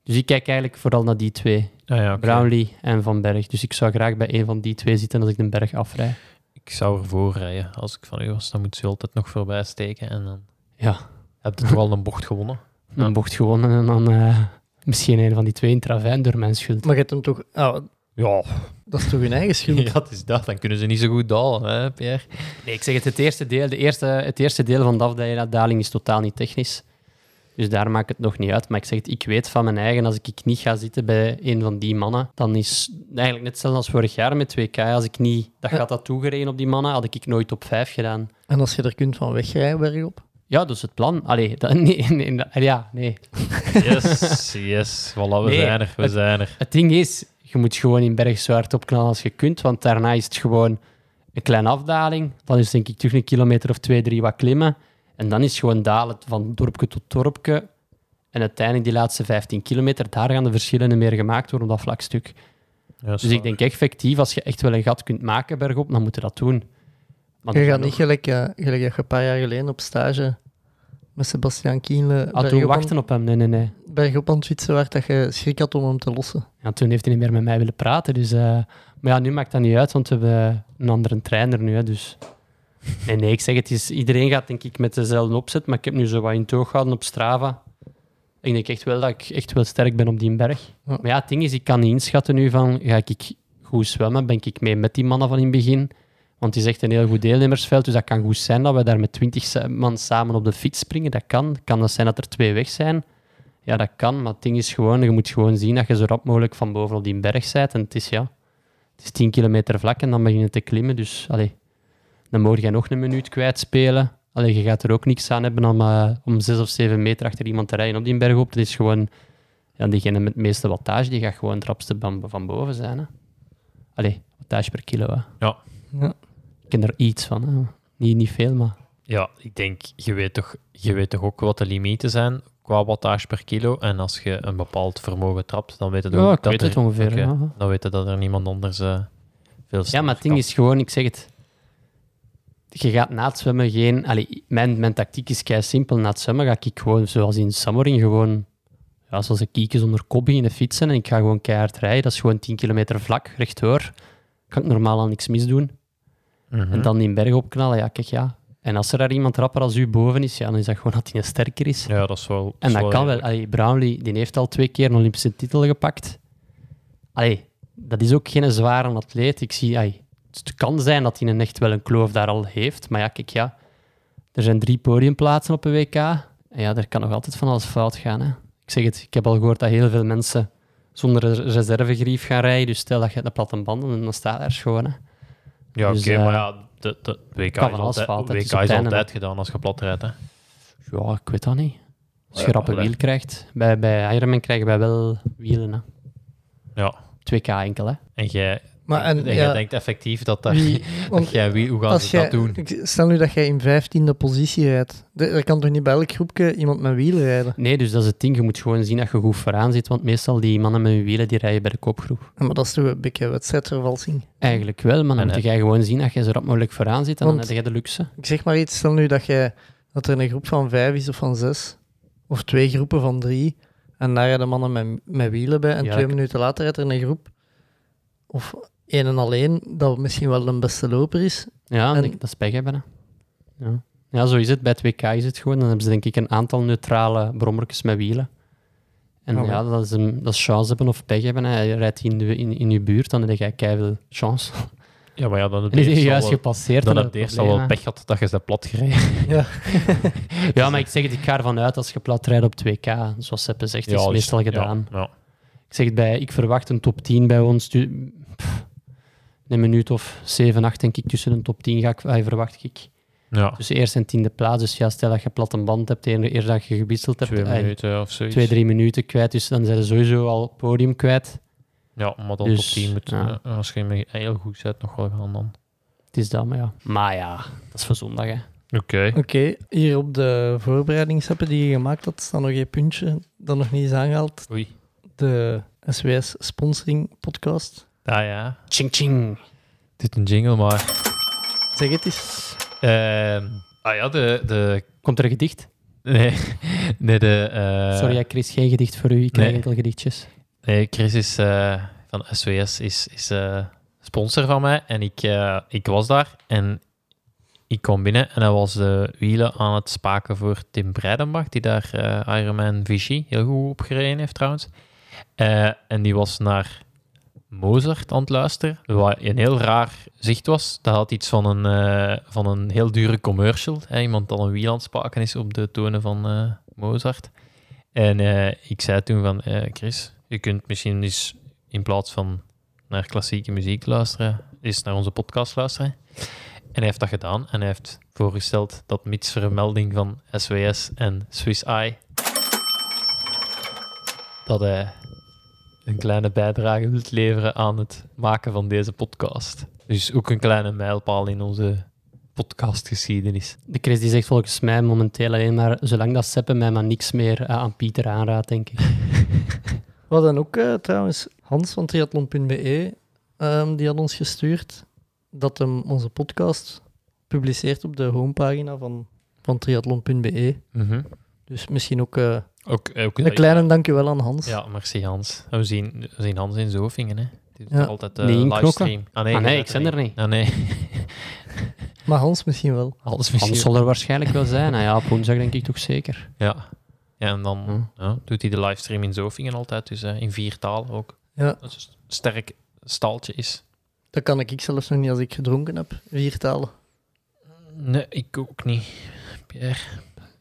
[SPEAKER 9] Dus ik kijk eigenlijk vooral naar die twee.
[SPEAKER 8] Ah ja, oké.
[SPEAKER 9] Brownlee en Van Berg. Dus ik zou graag bij een van die twee zitten als ik de berg afrij.
[SPEAKER 8] ik zou ervoor rijden. Als ik van u was, dan moet ze altijd nog voorbij steken en dan
[SPEAKER 9] Ja,
[SPEAKER 8] heb je toch al een bocht gewonnen.
[SPEAKER 9] een bocht gewonnen en dan eh, misschien een van die twee in Travijn door mijn schuld.
[SPEAKER 7] Maar je hebt hem toch... ah,
[SPEAKER 8] Ja,
[SPEAKER 7] dat is toch hun eigen schuld?
[SPEAKER 8] <laughs> ja, het is dat. Dan kunnen ze niet zo goed dalen, hè, Pierre.
[SPEAKER 9] Nee, ik zeg het, het eerste deel, de eerste, het eerste deel van de afdaling is totaal niet technisch. Dus daar maakt het nog niet uit. Maar ik zeg het, ik weet van mijn eigen, als ik ik niet ga zitten bij een van die mannen, dan is eigenlijk net hetzelfde als vorig jaar met 2K. Als ik niet dat gaat dat toegereden op die mannen, had ik ik nooit op 5 gedaan.
[SPEAKER 7] En als je er kunt van wegrijden bergop?
[SPEAKER 9] Ja, dat is het plan. Allee, dat, <laughs> nee, nee, dat- ja, nee.
[SPEAKER 8] Yes, <laughs> yes. Voilà, we
[SPEAKER 9] Nee,
[SPEAKER 8] zijn er. We
[SPEAKER 9] het-
[SPEAKER 8] zijn er.
[SPEAKER 9] Het ding is, je moet gewoon in berg zo hard opknallen als je kunt, want daarna is het gewoon een kleine afdaling. Dan is het denk ik terug een kilometer of twee, drie wat klimmen. En dan is het gewoon dalen van dorpje tot dorpje. En uiteindelijk die laatste 15 kilometer, daar gaan de verschillen niet meer gemaakt worden op dat vlak stuk.
[SPEAKER 8] Ja,
[SPEAKER 9] Dus ik denk effectief, als je echt wel een gat kunt maken bergop, dan moet je dat doen.
[SPEAKER 8] Ah,
[SPEAKER 9] Want
[SPEAKER 7] Je gaat
[SPEAKER 9] nog-
[SPEAKER 7] niet gelijk, eh, gelijk dat je een paar jaar geleden op stage met Sebastian Kienle
[SPEAKER 9] Ah, toen
[SPEAKER 7] bergop aan-
[SPEAKER 9] wachten op hem, nee, nee, nee.
[SPEAKER 7] bergop aan het fietsen werd dat je schrik had om hem te lossen.
[SPEAKER 9] Ja, toen heeft hij niet meer met mij willen praten. Dus, eh, maar ja, nu maakt dat niet uit, want we hebben een andere trainer nu. Hè, dus. Nee, nee, ik zeg het, is, iedereen gaat denk ik met dezelfde opzet. Maar ik heb nu zo wat in toog gehouden op Strava. Ik denk echt wel dat ik echt wel sterk ben op die berg.
[SPEAKER 7] Ja.
[SPEAKER 9] Maar ja, het ding is, ik kan niet inschatten nu van, ga ik goed zwemmen? Ben ik mee met die mannen van in het begin? Want het is echt een heel goed deelnemersveld, dus dat kan goed zijn dat we daar met twintig man samen op de fiets springen. Dat kan. Kan dat zijn dat er twee weg zijn? Ja, dat kan, maar het ding is gewoon, je moet gewoon zien dat je zo rap mogelijk van boven op die berg zit. En het is, ja, het is 10 kilometer vlak en dan begin je te klimmen. Dus allee, dan moet je nog een minuut kwijtspelen. Allee, je gaat er ook niks aan hebben om, eh, om zes of zeven meter achter iemand te rijden op die berg op. Het is gewoon, ja, diegene met het meeste wattage, die gaat gewoon het rapste van, van boven zijn. Hè. Allee, wattage per kilo. Hè.
[SPEAKER 8] Ja.
[SPEAKER 7] Ja.
[SPEAKER 9] Ik ken er iets van. Hè. Niet, niet veel, maar...
[SPEAKER 8] Ja, ik denk, je weet, toch, je weet toch ook wat de limieten zijn qua wattage per kilo. En als je een bepaald vermogen trapt, dan weet je
[SPEAKER 9] Ja,
[SPEAKER 8] ook
[SPEAKER 9] ik
[SPEAKER 8] dat
[SPEAKER 9] weet
[SPEAKER 8] er,
[SPEAKER 9] het ongeveer,
[SPEAKER 8] Oké,
[SPEAKER 9] ja.
[SPEAKER 8] Dan weet je dat er niemand anders eh, veel
[SPEAKER 9] Ja, maar het ding is gewoon, ik zeg het. Je gaat na het zwemmen geen... Allee, mijn, mijn tactiek is kei simpel. Na het zwemmen ga ik gewoon, zoals in Summerin, gewoon... Ja, zoals ik kieken zonder kop beginnen fietsen. En ik ga gewoon keihard rijden. Dat is gewoon 10 kilometer vlak, rechtdoor. Kan ik normaal aan niks misdoen. En dan die berg opknallen, ja, kijk, ja. En als er daar iemand rapper als u boven is, ja, dan is dat gewoon dat hij sterker is.
[SPEAKER 8] Ja, dat is wel... dat
[SPEAKER 9] En
[SPEAKER 8] is
[SPEAKER 9] dat kan wel.
[SPEAKER 8] redelijk.
[SPEAKER 9] Allee, Brownlee die heeft al twee keer een Olympische titel gepakt. Allee, dat is ook geen zware atleet. Ik zie, allee, het kan zijn dat hij een echt wel een kloof daar al heeft. Maar ja, kijk, ja. Er zijn drie podiumplaatsen op een WK. En ja, er kan nog altijd van alles fout gaan. Hè. Ik zeg het, ik heb al gehoord dat heel veel mensen zonder een reservegrief gaan rijden. Dus stel dat je hebt een platte band en dan staat daar schoon. Hè.
[SPEAKER 8] Ja, oké,
[SPEAKER 9] dus, eh,
[SPEAKER 8] maar ja, de, de WK
[SPEAKER 9] kan
[SPEAKER 8] is
[SPEAKER 9] van
[SPEAKER 8] altijd,
[SPEAKER 9] asfalt,
[SPEAKER 8] WK
[SPEAKER 9] het
[SPEAKER 8] is
[SPEAKER 9] is op het einde,
[SPEAKER 8] altijd gedaan als je plat rijdt. Hè.
[SPEAKER 9] Ja, ik weet dat niet. Als je rappe
[SPEAKER 8] allee.
[SPEAKER 9] wiel krijgt, bij, bij Ironman krijgen wij wel wielen. Hè.
[SPEAKER 8] Ja.
[SPEAKER 9] 2K enkel, hè.
[SPEAKER 8] En jij,
[SPEAKER 7] Maar en,
[SPEAKER 8] en jij
[SPEAKER 7] ja,
[SPEAKER 8] denkt effectief <laughs> dat dat... <laughs>
[SPEAKER 7] wie- want
[SPEAKER 8] dat jij, wie, hoe gaan
[SPEAKER 7] als
[SPEAKER 8] ze dat
[SPEAKER 7] jij,
[SPEAKER 8] doen?
[SPEAKER 7] ik- Stel nu dat jij in vijftiende positie rijdt. De- Er kan toch niet bij elk groepje iemand met wielen rijden?
[SPEAKER 9] Nee, dus dat is het ding. Je moet gewoon zien dat je goed vooraan zit. Want meestal die mannen met hun wielen die rijden bij de kopgroep.
[SPEAKER 7] Ja, Maar dat is toch een beetje wedstrijdvervalsing.
[SPEAKER 9] Eigenlijk wel, maar dan
[SPEAKER 8] En,
[SPEAKER 9] moet je gewoon zien dat je zo rap mogelijk vooraan zit. En dan
[SPEAKER 7] Want-
[SPEAKER 9] heb je de luxe.
[SPEAKER 7] Ik zeg maar iets, stel nu dat, jij, dat er een groep van vijf is of van zes, of twee groepen van drie, en daar rijden mannen met, met wielen bij, en
[SPEAKER 9] Ja,
[SPEAKER 7] twee
[SPEAKER 9] ik-
[SPEAKER 7] minuten later rijdt er een groep, of één en alleen, dat misschien wel een beste loper is.
[SPEAKER 9] Ja,
[SPEAKER 7] En-
[SPEAKER 9] denk ik, dat is pech hebben. hè. Ja. ja, zo is het. Bij het WK is het gewoon. Dan hebben ze denk ik een aantal neutrale brommertjes met wielen. En
[SPEAKER 7] Oh,
[SPEAKER 9] ja, dat is, een, dat is chance hebben of pech hebben. Hij rijdt in, de, in, in je buurt, dan heb jij keiveel chance.
[SPEAKER 8] Ja, maar ja, dan heb
[SPEAKER 9] En is
[SPEAKER 8] je
[SPEAKER 9] <laughs> die
[SPEAKER 8] eerst
[SPEAKER 9] juist
[SPEAKER 8] al wel-
[SPEAKER 9] gepasseerd.
[SPEAKER 8] dan
[SPEAKER 9] en
[SPEAKER 8] heb je
[SPEAKER 9] het
[SPEAKER 8] eerst al wel
[SPEAKER 9] probleem,
[SPEAKER 8] pech gehad dat je ze plat gereden.
[SPEAKER 9] hè. Ja, maar ik zeg het, ik ga ervan uit als je plat rijdt op 2K. Zoals Seppe zegt, is
[SPEAKER 8] dus-
[SPEAKER 9] meestal
[SPEAKER 8] ja,
[SPEAKER 9] gedaan.
[SPEAKER 8] ja.
[SPEAKER 9] Ik zeg het bij, ik verwacht een top 10 bij ons. Tu- pff, in een minuut of 7, 8 denk ik tussen een top 10 ga ik, ah, verwacht ik.
[SPEAKER 8] Ja,
[SPEAKER 9] Tussen eerst en tiende plaats. Dus ja, stel dat je plat een band hebt, eer, eer dat je gewisseld hebt.
[SPEAKER 8] twee
[SPEAKER 9] ah,
[SPEAKER 8] minuten of zoiets.
[SPEAKER 9] twee, drie minuten kwijt. Dus dan zijn ze sowieso al podium kwijt.
[SPEAKER 8] Ja, maar dan
[SPEAKER 9] Dus,
[SPEAKER 8] top 10 moet,
[SPEAKER 9] ja.
[SPEAKER 8] eh, als je me heel goed zet, nog wel gaan dan.
[SPEAKER 9] Het is dat, maar ja. Maar ja, dat is voor zondag, hè.
[SPEAKER 8] Oké.
[SPEAKER 7] Oké, hier op de voorbereidingshappen die je gemaakt had, staat nog één puntje dat nog niet is aangehaald.
[SPEAKER 8] Oei.
[SPEAKER 7] De SWS Sponsoring Podcast.
[SPEAKER 8] Ah ja.
[SPEAKER 9] Ching, ching.
[SPEAKER 8] Dit een jingle, maar...
[SPEAKER 7] Zeg het eens.
[SPEAKER 8] ehm, ah ja, de... de <laughs>
[SPEAKER 9] Komt er een gedicht?
[SPEAKER 8] nee, nee, de... eh,
[SPEAKER 9] Sorry, hè, Chris, geen gedicht voor u. Ik krijg
[SPEAKER 8] nee.
[SPEAKER 9] enkel gedichtjes.
[SPEAKER 8] Nee, Chris is, eh, van SWS is, is eh, sponsor van mij. En ik, eh, ik was daar en ik kwam binnen en hij was de wielen aan het spaken voor Tim Breidenbach, die daar eh Ironman Vichy heel goed op gereden heeft trouwens. Eh, en die was naar Mozart aan het luisteren, wat een heel raar zicht was. Dat had iets van een, eh, van een heel dure commercial. Hè? Iemand dat een wiel aan het spaken is op de tonen van eh, Mozart. En eh, ik zei toen van, eh, Chris, je kunt misschien eens in plaats van naar klassieke muziek luisteren, eens naar onze podcast luisteren. En hij heeft dat gedaan en hij heeft voorgesteld dat mits vermelding van SWS en Swiss Eye, dat hij een kleine bijdrage wilt leveren aan het maken van deze podcast. Dus ook een kleine mijlpaal in onze podcastgeschiedenis.
[SPEAKER 9] De Chris die zegt volgens mij momenteel alleen maar... Zolang dat Seppe mij maar niks meer eh, aan Pieter aanraadt, denk ik.
[SPEAKER 7] We hadden ook eh, trouwens Hans van triathlon.be, ehm, die had ons gestuurd dat hem onze podcast publiceert op de homepagina van, van triathlon.be. E. Dus misschien ook eh,
[SPEAKER 8] Mhm. Ook, ook
[SPEAKER 7] een kleine dankjewel aan Hans.
[SPEAKER 8] Ja, merci Hans. En We zien, we zien Hans in Zofingen, hè. Het is
[SPEAKER 7] Ja.
[SPEAKER 8] altijd
[SPEAKER 9] Nee,
[SPEAKER 8] een
[SPEAKER 9] in
[SPEAKER 8] livestream.
[SPEAKER 9] Ah, nee,
[SPEAKER 8] je bent
[SPEAKER 9] ik ben er niet.
[SPEAKER 8] Ah, nee, <laughs>
[SPEAKER 7] Maar Hans misschien wel.
[SPEAKER 8] Hans
[SPEAKER 9] Hans
[SPEAKER 8] misschien.
[SPEAKER 9] zal er waarschijnlijk wel zijn. Nou ja, op woensdag denk ik toch zeker.
[SPEAKER 8] Ja. ja, en dan ja, doet hij de livestream in Zofingen altijd, dus eh, in vier talen ook.
[SPEAKER 7] Ja.
[SPEAKER 8] Dat is een sterk staaltje is.
[SPEAKER 7] Dat kan ik zelfs nog niet als ik gedronken heb. Vier talen.
[SPEAKER 8] Nee, ik ook niet. Pierre.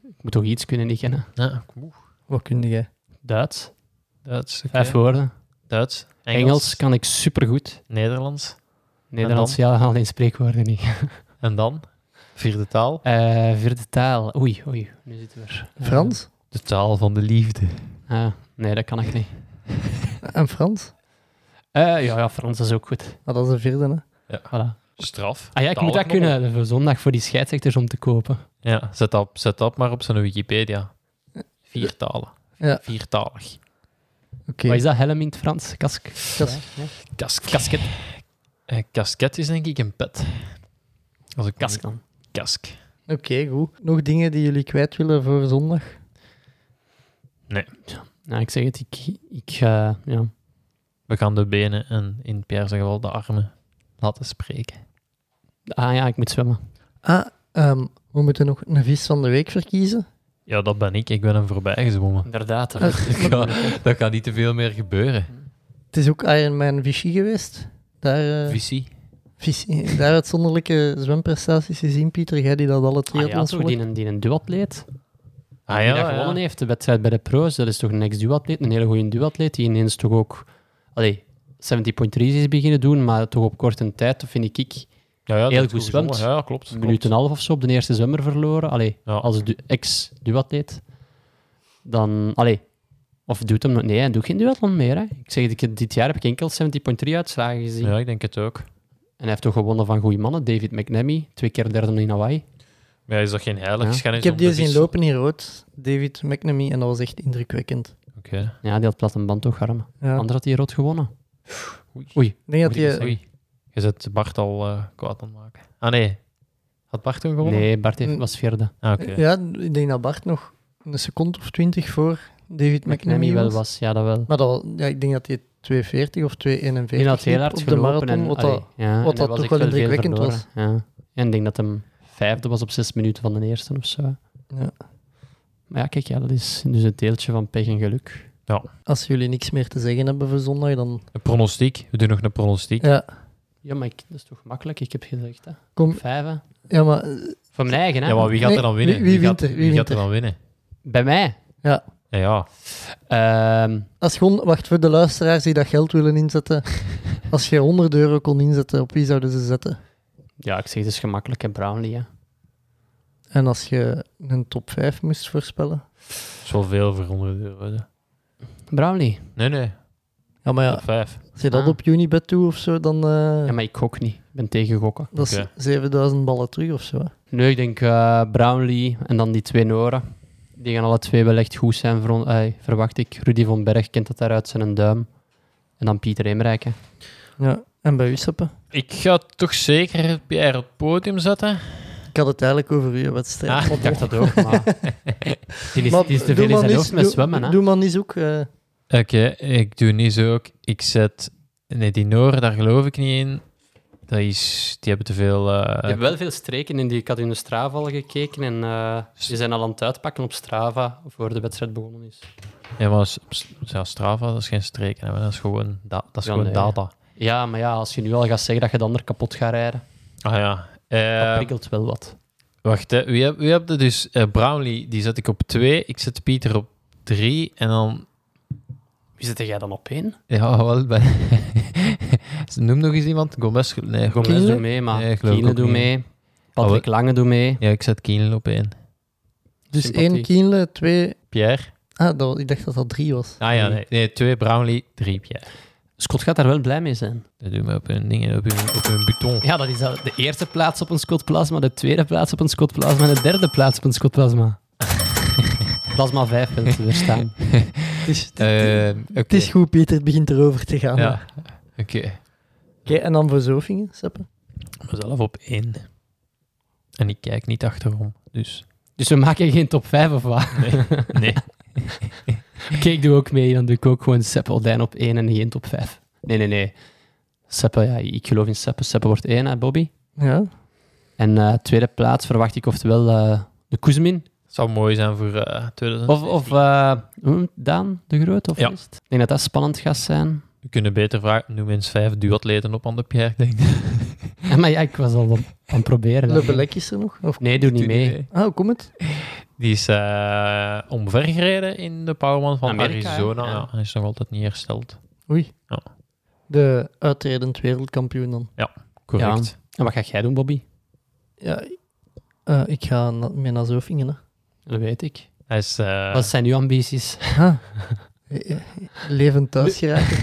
[SPEAKER 9] Ik moet toch iets kunnen niet kennen.
[SPEAKER 8] Ja, oeh,
[SPEAKER 7] Wat kun jij?
[SPEAKER 9] Duits,
[SPEAKER 8] Duits, oké.
[SPEAKER 9] vijf woorden.
[SPEAKER 8] Duits, Engels,
[SPEAKER 9] Engels. kan ik supergoed.
[SPEAKER 8] Nederlands.
[SPEAKER 9] Nederlands, ja, alleen spreekwoorden niet.
[SPEAKER 8] En dan? Vierde taal?
[SPEAKER 9] <laughs> Eh, vierde taal. Oei, oei. Nu zitten we er. Eh,
[SPEAKER 7] Frans?
[SPEAKER 8] De taal van de liefde.
[SPEAKER 9] ah, nee, dat kan ik niet.
[SPEAKER 7] En Frans?
[SPEAKER 9] Eh, ja, ja, Frans is ook goed.
[SPEAKER 7] Ah, dat is de vierde, hè.
[SPEAKER 9] Voilà.
[SPEAKER 8] Straf.
[SPEAKER 9] Ah ja, ik moet dat
[SPEAKER 8] Talenknobbel.
[SPEAKER 9] kunnen voor zondag voor die scheidsrechters om te kopen.
[SPEAKER 8] Ja, zet dat, zet dat maar op zijn Wikipedia. Vier talen.
[SPEAKER 7] Ja.
[SPEAKER 8] Viertalig.
[SPEAKER 7] Oké.
[SPEAKER 9] Wat is dat, helm in het Frans? Kask.
[SPEAKER 7] Kas-
[SPEAKER 8] Kasket. Eh, kasket is denk ik een pet. Als een
[SPEAKER 9] Kask
[SPEAKER 8] kask.
[SPEAKER 9] dan.
[SPEAKER 8] kask.
[SPEAKER 7] Oké, goed. Nog dingen die jullie kwijt willen voor zondag?
[SPEAKER 9] Nou, ik zeg het, ik, ik eh, ja.
[SPEAKER 8] We gaan de benen en in Pierre's geval de armen laten spreken.
[SPEAKER 9] Ah ja, ik moet zwemmen.
[SPEAKER 7] Ah, ehm, we moeten nog een vis van de week verkiezen.
[SPEAKER 8] Ja, dat ben ik. Ik ben hem voorbij gezwommen.
[SPEAKER 9] Inderdaad.
[SPEAKER 7] Ah,
[SPEAKER 8] <laughs> Dat gaat, dat gaat niet te veel meer gebeuren.
[SPEAKER 7] Het is ook Ironman Vichy geweest. Daar, eh
[SPEAKER 8] Visie.
[SPEAKER 7] Vichy, daar uitzonderlijke zwemprestaties gezien, Pieter. Jij die dat alle
[SPEAKER 9] Ah, ja,
[SPEAKER 7] triathlons
[SPEAKER 9] toch,
[SPEAKER 7] volgt.
[SPEAKER 9] die, een- die een duatleet.
[SPEAKER 8] Ah
[SPEAKER 9] die dat
[SPEAKER 8] ja,
[SPEAKER 9] gewonnen
[SPEAKER 8] ja.
[SPEAKER 9] heeft, de wedstrijd bij de pro's, dat is toch een ex-duatleet, een hele goede duatleet, die ineens toch ook allee, 70.3 is beginnen doen, maar toch op korte tijd, dat vind ik, ik
[SPEAKER 8] Ja, ja, dat
[SPEAKER 9] Heel
[SPEAKER 8] is
[SPEAKER 9] goed gezwommen.
[SPEAKER 8] gezwommen. Ja, klopt.
[SPEAKER 9] een minuut en een half of zo op de eerste zwemmer verloren. Allee,
[SPEAKER 8] Ja.
[SPEAKER 9] als du- ex-duatleet, dan... Allee, of doet hem... nog- Nee, hij doet geen duathlon meer. Hè. Ik zeg, het, ik- dit jaar heb ik enkel 70.3 uitslagen gezien.
[SPEAKER 8] Ja, ik denk het ook.
[SPEAKER 9] En hij heeft toch gewonnen van goede mannen. David McNamee, twee keer derde in Hawaii.
[SPEAKER 8] Maar ja, is dat geen heilige
[SPEAKER 9] Ja.
[SPEAKER 8] schennis
[SPEAKER 7] Ik heb
[SPEAKER 8] om de
[SPEAKER 7] die zien
[SPEAKER 8] vis-
[SPEAKER 7] lopen hier ooit. David McNamee. En dat was echt indrukwekkend.
[SPEAKER 8] Oké.
[SPEAKER 9] Ja, die had plat een band toch, arm.
[SPEAKER 7] Ja.
[SPEAKER 9] Ander had hij rood gewonnen.
[SPEAKER 7] Ik denk dat
[SPEAKER 8] Moet ik
[SPEAKER 7] die...
[SPEAKER 8] eens- Oei, je zet Bart al eh, kwaad aan het maken. Ah nee, had Bart toen gewonnen?
[SPEAKER 9] Nee, Bart heeft,
[SPEAKER 7] Mm.
[SPEAKER 9] was vierde.
[SPEAKER 8] Ah, oké.
[SPEAKER 7] Ja, ik denk dat Bart nog een seconde of twintig voor David
[SPEAKER 9] McNamee
[SPEAKER 7] McNamee
[SPEAKER 9] wel
[SPEAKER 7] was.
[SPEAKER 9] was, ja, dat wel.
[SPEAKER 7] Maar dat, ja, ik denk dat hij 240 of 241
[SPEAKER 9] Die had heel
[SPEAKER 7] liep
[SPEAKER 9] hard
[SPEAKER 7] op de
[SPEAKER 9] gelopen.
[SPEAKER 7] marathon.
[SPEAKER 9] en,
[SPEAKER 7] wat
[SPEAKER 9] allee,
[SPEAKER 7] dat-
[SPEAKER 9] ja, en
[SPEAKER 7] wat
[SPEAKER 9] hij
[SPEAKER 7] dat
[SPEAKER 9] was
[SPEAKER 7] ook wel
[SPEAKER 9] echt veel
[SPEAKER 7] indrukwekkend
[SPEAKER 9] verloren,
[SPEAKER 7] was.
[SPEAKER 9] Ja. En ik denk dat hem vijfde was op zes minuten van de eerste of zo.
[SPEAKER 7] Ja.
[SPEAKER 9] Maar ja, kijk, ja, dat is dus het deeltje van pech en geluk.
[SPEAKER 7] Als jullie niks meer te zeggen hebben voor zondag, dan...
[SPEAKER 8] Een pronostiek. We doen nog een pronostiek.
[SPEAKER 7] Ja,
[SPEAKER 9] Ja, maar ik, dat is toch makkelijk? Ik heb gezegd, hè.
[SPEAKER 7] Kom,
[SPEAKER 9] Vijf, hè.
[SPEAKER 7] ja, maar, eh,
[SPEAKER 9] Voor mijn eigen, hè.
[SPEAKER 8] Ja, maar wie gaat
[SPEAKER 7] Nee,
[SPEAKER 8] er dan winnen?
[SPEAKER 7] wie- wie
[SPEAKER 8] gaat,
[SPEAKER 7] wint er? Wie
[SPEAKER 8] wie
[SPEAKER 7] wint
[SPEAKER 8] gaat er
[SPEAKER 7] er?
[SPEAKER 8] dan winnen?
[SPEAKER 9] Bij mij.
[SPEAKER 7] ja.
[SPEAKER 8] Ja, ja.
[SPEAKER 9] Ehm,
[SPEAKER 7] Als je hon- wacht voor de luisteraars die dat geld willen
[SPEAKER 9] <laughs>
[SPEAKER 7] inzetten. Als je 100 euro kon inzetten, op wie zouden ze zetten?
[SPEAKER 9] ja, ik zeg, het is gemakkelijk, hè, Brownlee, hè.
[SPEAKER 7] En als je een top 5 moest voorspellen?
[SPEAKER 8] Zoveel voor 100 euro. hè.
[SPEAKER 9] Brownlee.
[SPEAKER 8] Nee, nee.
[SPEAKER 7] Ja, maar ja,
[SPEAKER 8] Top 5.
[SPEAKER 7] als je dat
[SPEAKER 9] Ah.
[SPEAKER 7] op Unibet doet of zo, dan. eh,
[SPEAKER 9] Ja, maar ik gok niet. Ik ben tegen gokken.
[SPEAKER 7] dat is
[SPEAKER 8] oké.
[SPEAKER 7] 7000 ballen terug of zo. hè.
[SPEAKER 9] Nee, ik denk eh, Brownlee en dan die twee Noren. Die gaan alle twee wel echt goed zijn, veron- eh, verwacht ik. Rudy van Berg kent dat daaruit zijn een duim. En dan Pieter Eemrijk. hè.
[SPEAKER 7] Ja. En bij u, Seppe?
[SPEAKER 8] Ik ga toch zeker Pierre op het podium zetten.
[SPEAKER 7] Ik had het eigenlijk over uw wedstrijd.
[SPEAKER 8] Ah,
[SPEAKER 7] Maar
[SPEAKER 9] Ik dacht dat ook, maar... die is,
[SPEAKER 7] Maar
[SPEAKER 9] die is te
[SPEAKER 7] doe
[SPEAKER 9] veel in
[SPEAKER 7] maar
[SPEAKER 9] zijn
[SPEAKER 7] niet-
[SPEAKER 9] hoofd met
[SPEAKER 7] doe-
[SPEAKER 9] zwemmen, hè.
[SPEAKER 7] Doe maar niet zoek. eh,
[SPEAKER 8] Oké, ik doe niet zo ook. Ik zet... Nee, die Noren, daar geloof ik niet in. Dat is... Die hebben te veel...
[SPEAKER 9] Ik
[SPEAKER 8] eh,
[SPEAKER 9] heb wel veel streken in die... Ik had in de Strava al gekeken en eh ze zijn al aan het uitpakken op Strava voor de wedstrijd begonnen is.
[SPEAKER 8] Ja, maar s- s- ja, Strava, dat is geen streken. hè, maar Dat is gewoon, da- dat is
[SPEAKER 9] Ja,
[SPEAKER 8] gewoon
[SPEAKER 9] nee.
[SPEAKER 8] data.
[SPEAKER 9] Ja, maar ja, als je nu al gaat zeggen dat je de ander kapot gaat rijden,
[SPEAKER 8] Ah ja.
[SPEAKER 9] dat
[SPEAKER 8] Eh,
[SPEAKER 9] prikkelt wel wat.
[SPEAKER 8] wacht, hè. Wie, heb, wie heb je dus? Eh, Brownlee, die zet ik op 2. Ik zet Pieter op 3. En dan...
[SPEAKER 9] Wie zit jij dan op één?
[SPEAKER 8] Ja, wel bij... <laughs> Noem nog eens iemand. Gomez... Nee,
[SPEAKER 9] Gomez
[SPEAKER 8] Kienle?
[SPEAKER 9] doet mee, maar
[SPEAKER 8] Nee, ik geloof
[SPEAKER 9] Kiele
[SPEAKER 8] ook
[SPEAKER 9] doet
[SPEAKER 8] niet.
[SPEAKER 9] mee. Patrick Lange doet mee.
[SPEAKER 8] Ja, ik zet Kienle op 1.
[SPEAKER 7] dus
[SPEAKER 9] Sympathie.
[SPEAKER 7] één Kienle, twee.
[SPEAKER 8] Pierre?
[SPEAKER 7] Ah, dat, ik dacht dat dat drie was.
[SPEAKER 8] Ah ja, nee. nee 2 Brownlee, 3 Pierre.
[SPEAKER 9] Scott gaat daar wel blij mee zijn.
[SPEAKER 8] Dat doen we op een ding, op een, op een buton.
[SPEAKER 9] Ja, dat is al de eerste plaats op een Scott Plasma, de tweede plaats op een Scott Plasma en de derde plaats op een Scott Plasma. <laughs> Plasma 5 wil te verstaan.
[SPEAKER 7] Het is,
[SPEAKER 9] Eh,
[SPEAKER 7] het,
[SPEAKER 8] Ehm, Oké.
[SPEAKER 7] het is goed, Pieter. Het begint erover te gaan.
[SPEAKER 8] Ja, oké.
[SPEAKER 7] Oké, en dan voor Zofingen, Seppe?
[SPEAKER 8] Mezelf op 1. En ik kijk niet achterom, dus...
[SPEAKER 9] Dus we maken geen top 5 of wat?
[SPEAKER 8] Nee.
[SPEAKER 9] <laughs> Oké, ik doe ook mee. Dan doe ik ook gewoon Seppe Oldijn op 1 en geen top 5. Nee, nee, nee. Seppe, ja, ik geloof in Seppe. Seppe wordt 1, hè, Bobby.
[SPEAKER 7] Ja.
[SPEAKER 9] En eh, tweede plaats verwacht ik oftewel eh, de Kuzmin.
[SPEAKER 8] Het zou mooi zijn voor eh 2000.
[SPEAKER 9] Of, of eh, hoe noemt Daan de Groot, of
[SPEAKER 8] Ja.
[SPEAKER 9] is het? Ik denk dat dat spannend gaat zijn.
[SPEAKER 8] We kunnen beter vragen, noem eens vijf duatleten op aan de Pierre, denk ik.
[SPEAKER 9] maar <laughs> ja, ik was al aan het proberen. hè.
[SPEAKER 7] Le Belek is er nog? Of...
[SPEAKER 9] Nee, doe niet mee.
[SPEAKER 7] Ah, hoe komt het?
[SPEAKER 8] Die is eh omvergereden in de Powerman van
[SPEAKER 9] Amerika, hè?
[SPEAKER 8] Arizona.
[SPEAKER 9] Ja.
[SPEAKER 8] Ja, hij is nog altijd niet hersteld.
[SPEAKER 7] Oei.
[SPEAKER 8] Ja.
[SPEAKER 7] De uitredend wereldkampioen dan.
[SPEAKER 8] Correct.
[SPEAKER 9] En wat ga jij doen, Bobby?
[SPEAKER 7] Ja, eh, ik ga na, mee naar Zofingen. Hè.
[SPEAKER 9] Dat weet ik.
[SPEAKER 8] Hij is... eh,
[SPEAKER 9] Wat zijn uw ambities?
[SPEAKER 7] Eh, eh, Levend thuis geraken.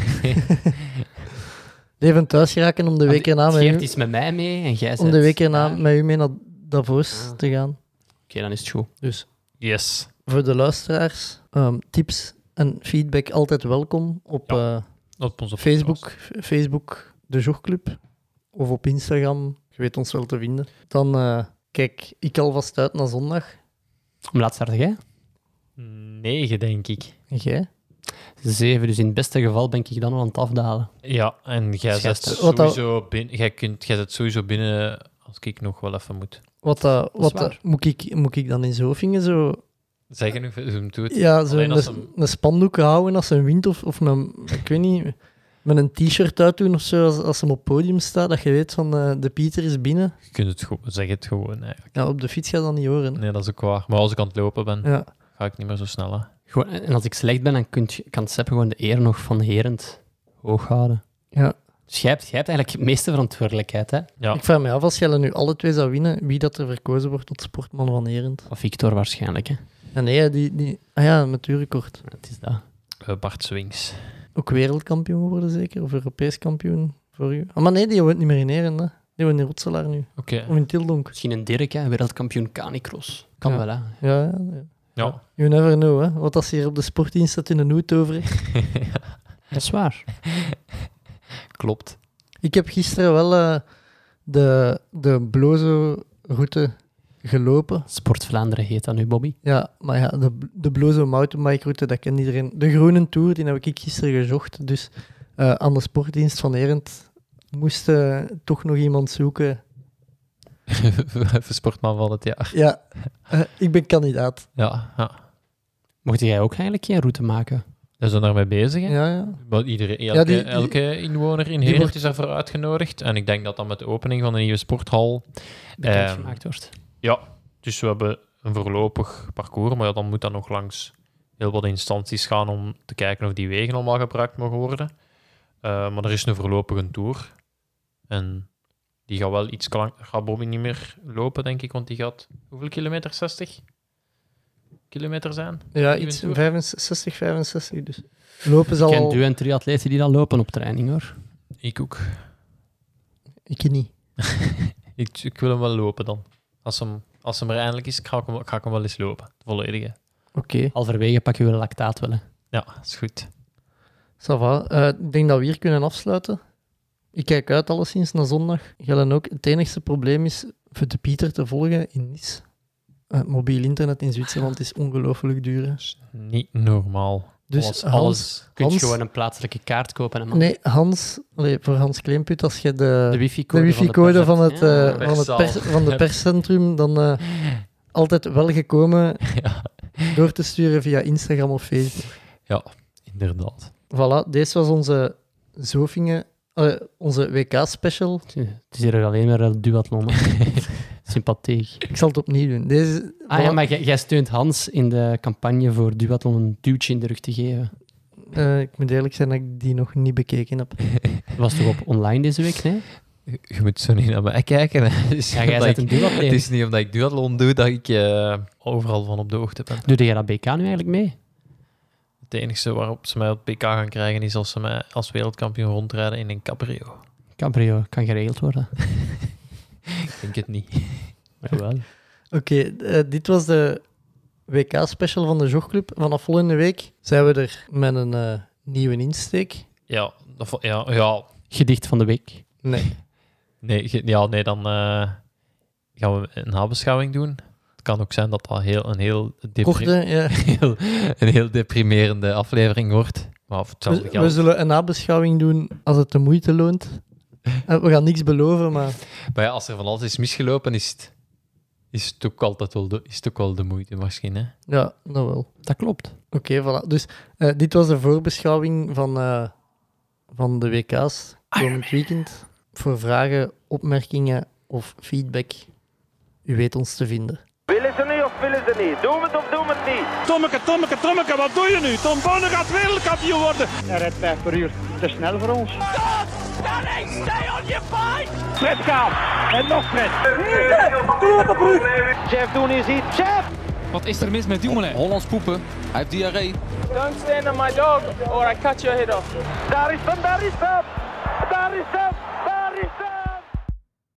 [SPEAKER 7] Levend thuis geraken om de week erna met
[SPEAKER 9] Geert
[SPEAKER 7] u,
[SPEAKER 9] is met mij mee en jij zegt...
[SPEAKER 7] om de week erna
[SPEAKER 9] Oké,
[SPEAKER 7] met u mee naar Davos
[SPEAKER 9] Ah.
[SPEAKER 7] te gaan.
[SPEAKER 9] dan is het goed.
[SPEAKER 7] Dus
[SPEAKER 8] Yes.
[SPEAKER 7] voor de luisteraars, ehm, tips en feedback altijd welkom op eh,
[SPEAKER 8] Op onze
[SPEAKER 7] Facebook, Facebook de Jogclub of op Instagram. Je weet ons wel te vinden. Dan eh, kijk ik alvast uit naar zondag.
[SPEAKER 9] Om laatst starten jij?
[SPEAKER 8] Negen, denk ik.
[SPEAKER 7] En jij?
[SPEAKER 9] Zeven, dus in het beste geval ben ik dan al aan het afdalen.
[SPEAKER 8] Ja, en
[SPEAKER 9] Dus
[SPEAKER 8] jij zet
[SPEAKER 9] Schitterend.
[SPEAKER 7] Wat dat-
[SPEAKER 8] sowieso binnen... Jij, kunt, jij zet sowieso binnen als ik nog wel even moet.
[SPEAKER 7] Wat, eh, wat
[SPEAKER 9] waar.
[SPEAKER 7] eh, moet, ik, moet ik dan in Zofingen zo
[SPEAKER 8] Zeggen nog, zo'n doet.
[SPEAKER 7] Ja, zo
[SPEAKER 8] Alleen
[SPEAKER 7] een,
[SPEAKER 8] als
[SPEAKER 7] een spandoek houden als ze wint of, of een, ik weet niet, met een t-shirt uitdoen of zo als, als ze op het podium staat, dat je weet van eh, de Pieter is binnen.
[SPEAKER 8] Je kunt het gewoon... Zeg het gewoon, eigenlijk.
[SPEAKER 7] Ja, op de fiets ga je dat niet horen. hè.
[SPEAKER 8] Nee, dat is ook waar. Maar als ik aan het lopen ben,
[SPEAKER 7] Ja,
[SPEAKER 8] ga ik niet meer zo snel, hè.
[SPEAKER 9] Gewoon, eh, en als ik slecht ben, dan kunt, je- kan Sepp gewoon de eer nog van Herend hoog houden.
[SPEAKER 7] ja.
[SPEAKER 9] Dus jij hebt, jij hebt eigenlijk de meeste verantwoordelijkheid, hè?
[SPEAKER 8] Ja.
[SPEAKER 7] Ik vraag me af, als jij nu alle twee zou winnen, wie dat er verkozen wordt tot sportman van Herend.
[SPEAKER 9] Of Victor waarschijnlijk, hè?
[SPEAKER 7] Ja, nee, die, die, ah ja, met uw record.
[SPEAKER 9] Het is dat.
[SPEAKER 8] Eh, Bart Swings.
[SPEAKER 7] Ook wereldkampioen geworden zeker, of Europees kampioen voor u. Ah, maar nee, die woont niet meer in Herend, hè. Die woont in Rotselaar nu,
[SPEAKER 8] Oké.
[SPEAKER 7] of in Tildonk.
[SPEAKER 9] Misschien een Dirk, hè? Wereldkampioen canicross. Kan
[SPEAKER 7] Ja.
[SPEAKER 9] wel, hè?
[SPEAKER 7] Ja, ja, ja.
[SPEAKER 8] Ja.
[SPEAKER 7] You never know, hè. Wat als hier op de sportdienst staat in een hoed over heeft.
[SPEAKER 9] Dat is waar. Klopt.
[SPEAKER 7] Ik heb gisteren wel eh, de, de Blozo-route gelopen.
[SPEAKER 9] Sport Vlaanderen heet dat nu, Bobby.
[SPEAKER 7] Ja, maar ja, de, de Blozo mountainbike-route, dat kent iedereen. De Groene Tour, die heb ik gisteren gezocht. Dus eh, aan de sportdienst van Erend moest eh, toch nog iemand zoeken.
[SPEAKER 8] <laughs> Even sportman van het jaar.
[SPEAKER 7] Ja, eh, ik ben kandidaat.
[SPEAKER 8] Ja, ja.
[SPEAKER 9] Mocht jij ook eigenlijk geen route maken?
[SPEAKER 8] Daar zijn we mee bezig. hè.
[SPEAKER 7] Ja, ja.
[SPEAKER 8] Maar iedereen, elke,
[SPEAKER 7] Ja, die- die-
[SPEAKER 8] elke inwoner in Heerlijk
[SPEAKER 7] wordt-
[SPEAKER 8] is daarvoor uitgenodigd. En ik denk dat dat met de opening van de nieuwe sporthal... eh,
[SPEAKER 9] gemaakt wordt.
[SPEAKER 8] ja, dus we hebben een voorlopig parcours. Maar ja, dan moet dat nog langs heel wat instanties gaan om te kijken of die wegen allemaal gebruikt mogen worden. Eh, maar er is een voorlopige tour. En die gaat wel iets lang... Gaat Bobby niet meer lopen, denk ik. Want die gaat... Hoeveel kilometer? 60? Kilometer zijn?
[SPEAKER 7] ja
[SPEAKER 8] Je
[SPEAKER 7] iets
[SPEAKER 8] bent
[SPEAKER 7] 65, 65. Dus. Lopen ze
[SPEAKER 9] Ik ken
[SPEAKER 7] al...
[SPEAKER 9] duw en triatleten die dan lopen op training, hoor.
[SPEAKER 8] Ik ook.
[SPEAKER 7] Ik niet.
[SPEAKER 8] Ik, ik wil hem wel lopen dan. Als hem, als hem er eindelijk is, ga ik hem, ga ik hem wel eens lopen. De volledige.
[SPEAKER 7] Oké,
[SPEAKER 9] Halverwege pak je wel lactaat wel, hè.
[SPEAKER 8] Ja, is goed.
[SPEAKER 7] ça va. Eh, ik denk dat we hier kunnen afsluiten. Ik kijk uit alleszins naar zondag. Gellen ook. Het enigste probleem is voor de Pieter te volgen in Nice. Eh, mobiel internet in Zwitserland is ongelooflijk duur. hè.
[SPEAKER 8] Dus- Niet normaal.
[SPEAKER 7] Dus
[SPEAKER 8] alles,
[SPEAKER 7] Hans-
[SPEAKER 8] alles.
[SPEAKER 9] Kun je
[SPEAKER 7] Hans-
[SPEAKER 9] gewoon een plaatselijke kaart kopen, hè, man.
[SPEAKER 7] Nee, Hans, allee, voor Hans Kleemput, als je de,
[SPEAKER 9] De
[SPEAKER 7] de,
[SPEAKER 9] wifi-code
[SPEAKER 7] wifi-code van, het, eh,
[SPEAKER 9] Ja.
[SPEAKER 7] van, het
[SPEAKER 8] Perszaal.
[SPEAKER 7] pers, van de perscentrum, dan eh, altijd wel gekomen
[SPEAKER 8] Ja,
[SPEAKER 7] door te sturen via Instagram of Facebook.
[SPEAKER 8] inderdaad.
[SPEAKER 7] Voilà, deze was onze Zofingen, eh, onze WK-special.
[SPEAKER 9] Het is hier alleen maar een duathlon. hè. <laughs> Sympathiek.
[SPEAKER 7] Ik zal het opnieuw doen. Deze,
[SPEAKER 9] Ah ja,
[SPEAKER 7] voilà.
[SPEAKER 9] maar jij jij steunt Hans in de campagne voor duathlon een duwtje in de rug te geven.
[SPEAKER 7] Eh, ik moet eerlijk zijn dat ik die nog niet bekeken heb.
[SPEAKER 9] Dat was toch op online deze week, nee?
[SPEAKER 8] Je je moet zo niet naar mij kijken. hè. Het is,
[SPEAKER 9] Ja,
[SPEAKER 8] niet
[SPEAKER 9] jij
[SPEAKER 8] omdat
[SPEAKER 9] bent
[SPEAKER 8] ik-
[SPEAKER 9] een
[SPEAKER 8] het is
[SPEAKER 9] duatleet.
[SPEAKER 8] niet omdat ik duathlon doe dat ik eh, overal van op de hoogte ben.
[SPEAKER 9] Doe jij dat BK nu eigenlijk mee?
[SPEAKER 8] Het enige waarop ze mij op PK gaan krijgen is als ze mij als wereldkampioen rondrijden in een cabrio.
[SPEAKER 9] Cabrio, kan geregeld worden.
[SPEAKER 8] Ik denk het <laughs> niet.
[SPEAKER 9] Jawel.
[SPEAKER 7] Oké, eh, dit was de WK-special van de Jogclub. Vanaf volgende week zijn we er met een eh, nieuwe insteek.
[SPEAKER 8] Ja, dat vo- ja, ja
[SPEAKER 9] Gedicht van de week.
[SPEAKER 7] Nee,
[SPEAKER 8] Nee, ge- ja, nee dan eh, gaan we een nabeschouwing doen. Het kan ook zijn dat dat heel, een, heel depri-
[SPEAKER 7] korte. Ja.
[SPEAKER 8] <laughs> heel, een heel deprimerende aflevering wordt. Maar voor hetzelfde
[SPEAKER 7] We, we
[SPEAKER 8] geld.
[SPEAKER 7] zullen een nabeschouwing doen als het de moeite loont. Eh, we gaan niks beloven, maar
[SPEAKER 8] Maar ja, als er van alles is misgelopen, is het, is het, ook, altijd wel de, is het ook wel de moeite misschien. Hè?
[SPEAKER 7] ja, dat wel.
[SPEAKER 9] Dat klopt.
[SPEAKER 7] Oké, voilà. Dus eh, dit was de voorbeschouwing van, eh, van de WK's
[SPEAKER 9] Ah,
[SPEAKER 7] komend weekend. Voor vragen, opmerkingen of feedback, u weet ons te vinden.
[SPEAKER 1] Willen ze niet of willen ze niet? Doen we het of doen we het niet?
[SPEAKER 2] Tommeke, Tommeke, Tommeke, wat doe je nu? Tom Bonne gaat wereldkampioen worden.
[SPEAKER 3] Hij rijdt 5 per uur. Te snel voor ons.
[SPEAKER 1] Fred gaat. En nog Fred. Doe het op Jeff Doen is hier. Jeff!
[SPEAKER 5] Wat is er mis met Dumoulin?
[SPEAKER 6] Hollands poepen. Hij heeft diarree.
[SPEAKER 4] Don't stand on my dog or I cut your head off.
[SPEAKER 1] Daar is hem, daar is hem. Daar is hem,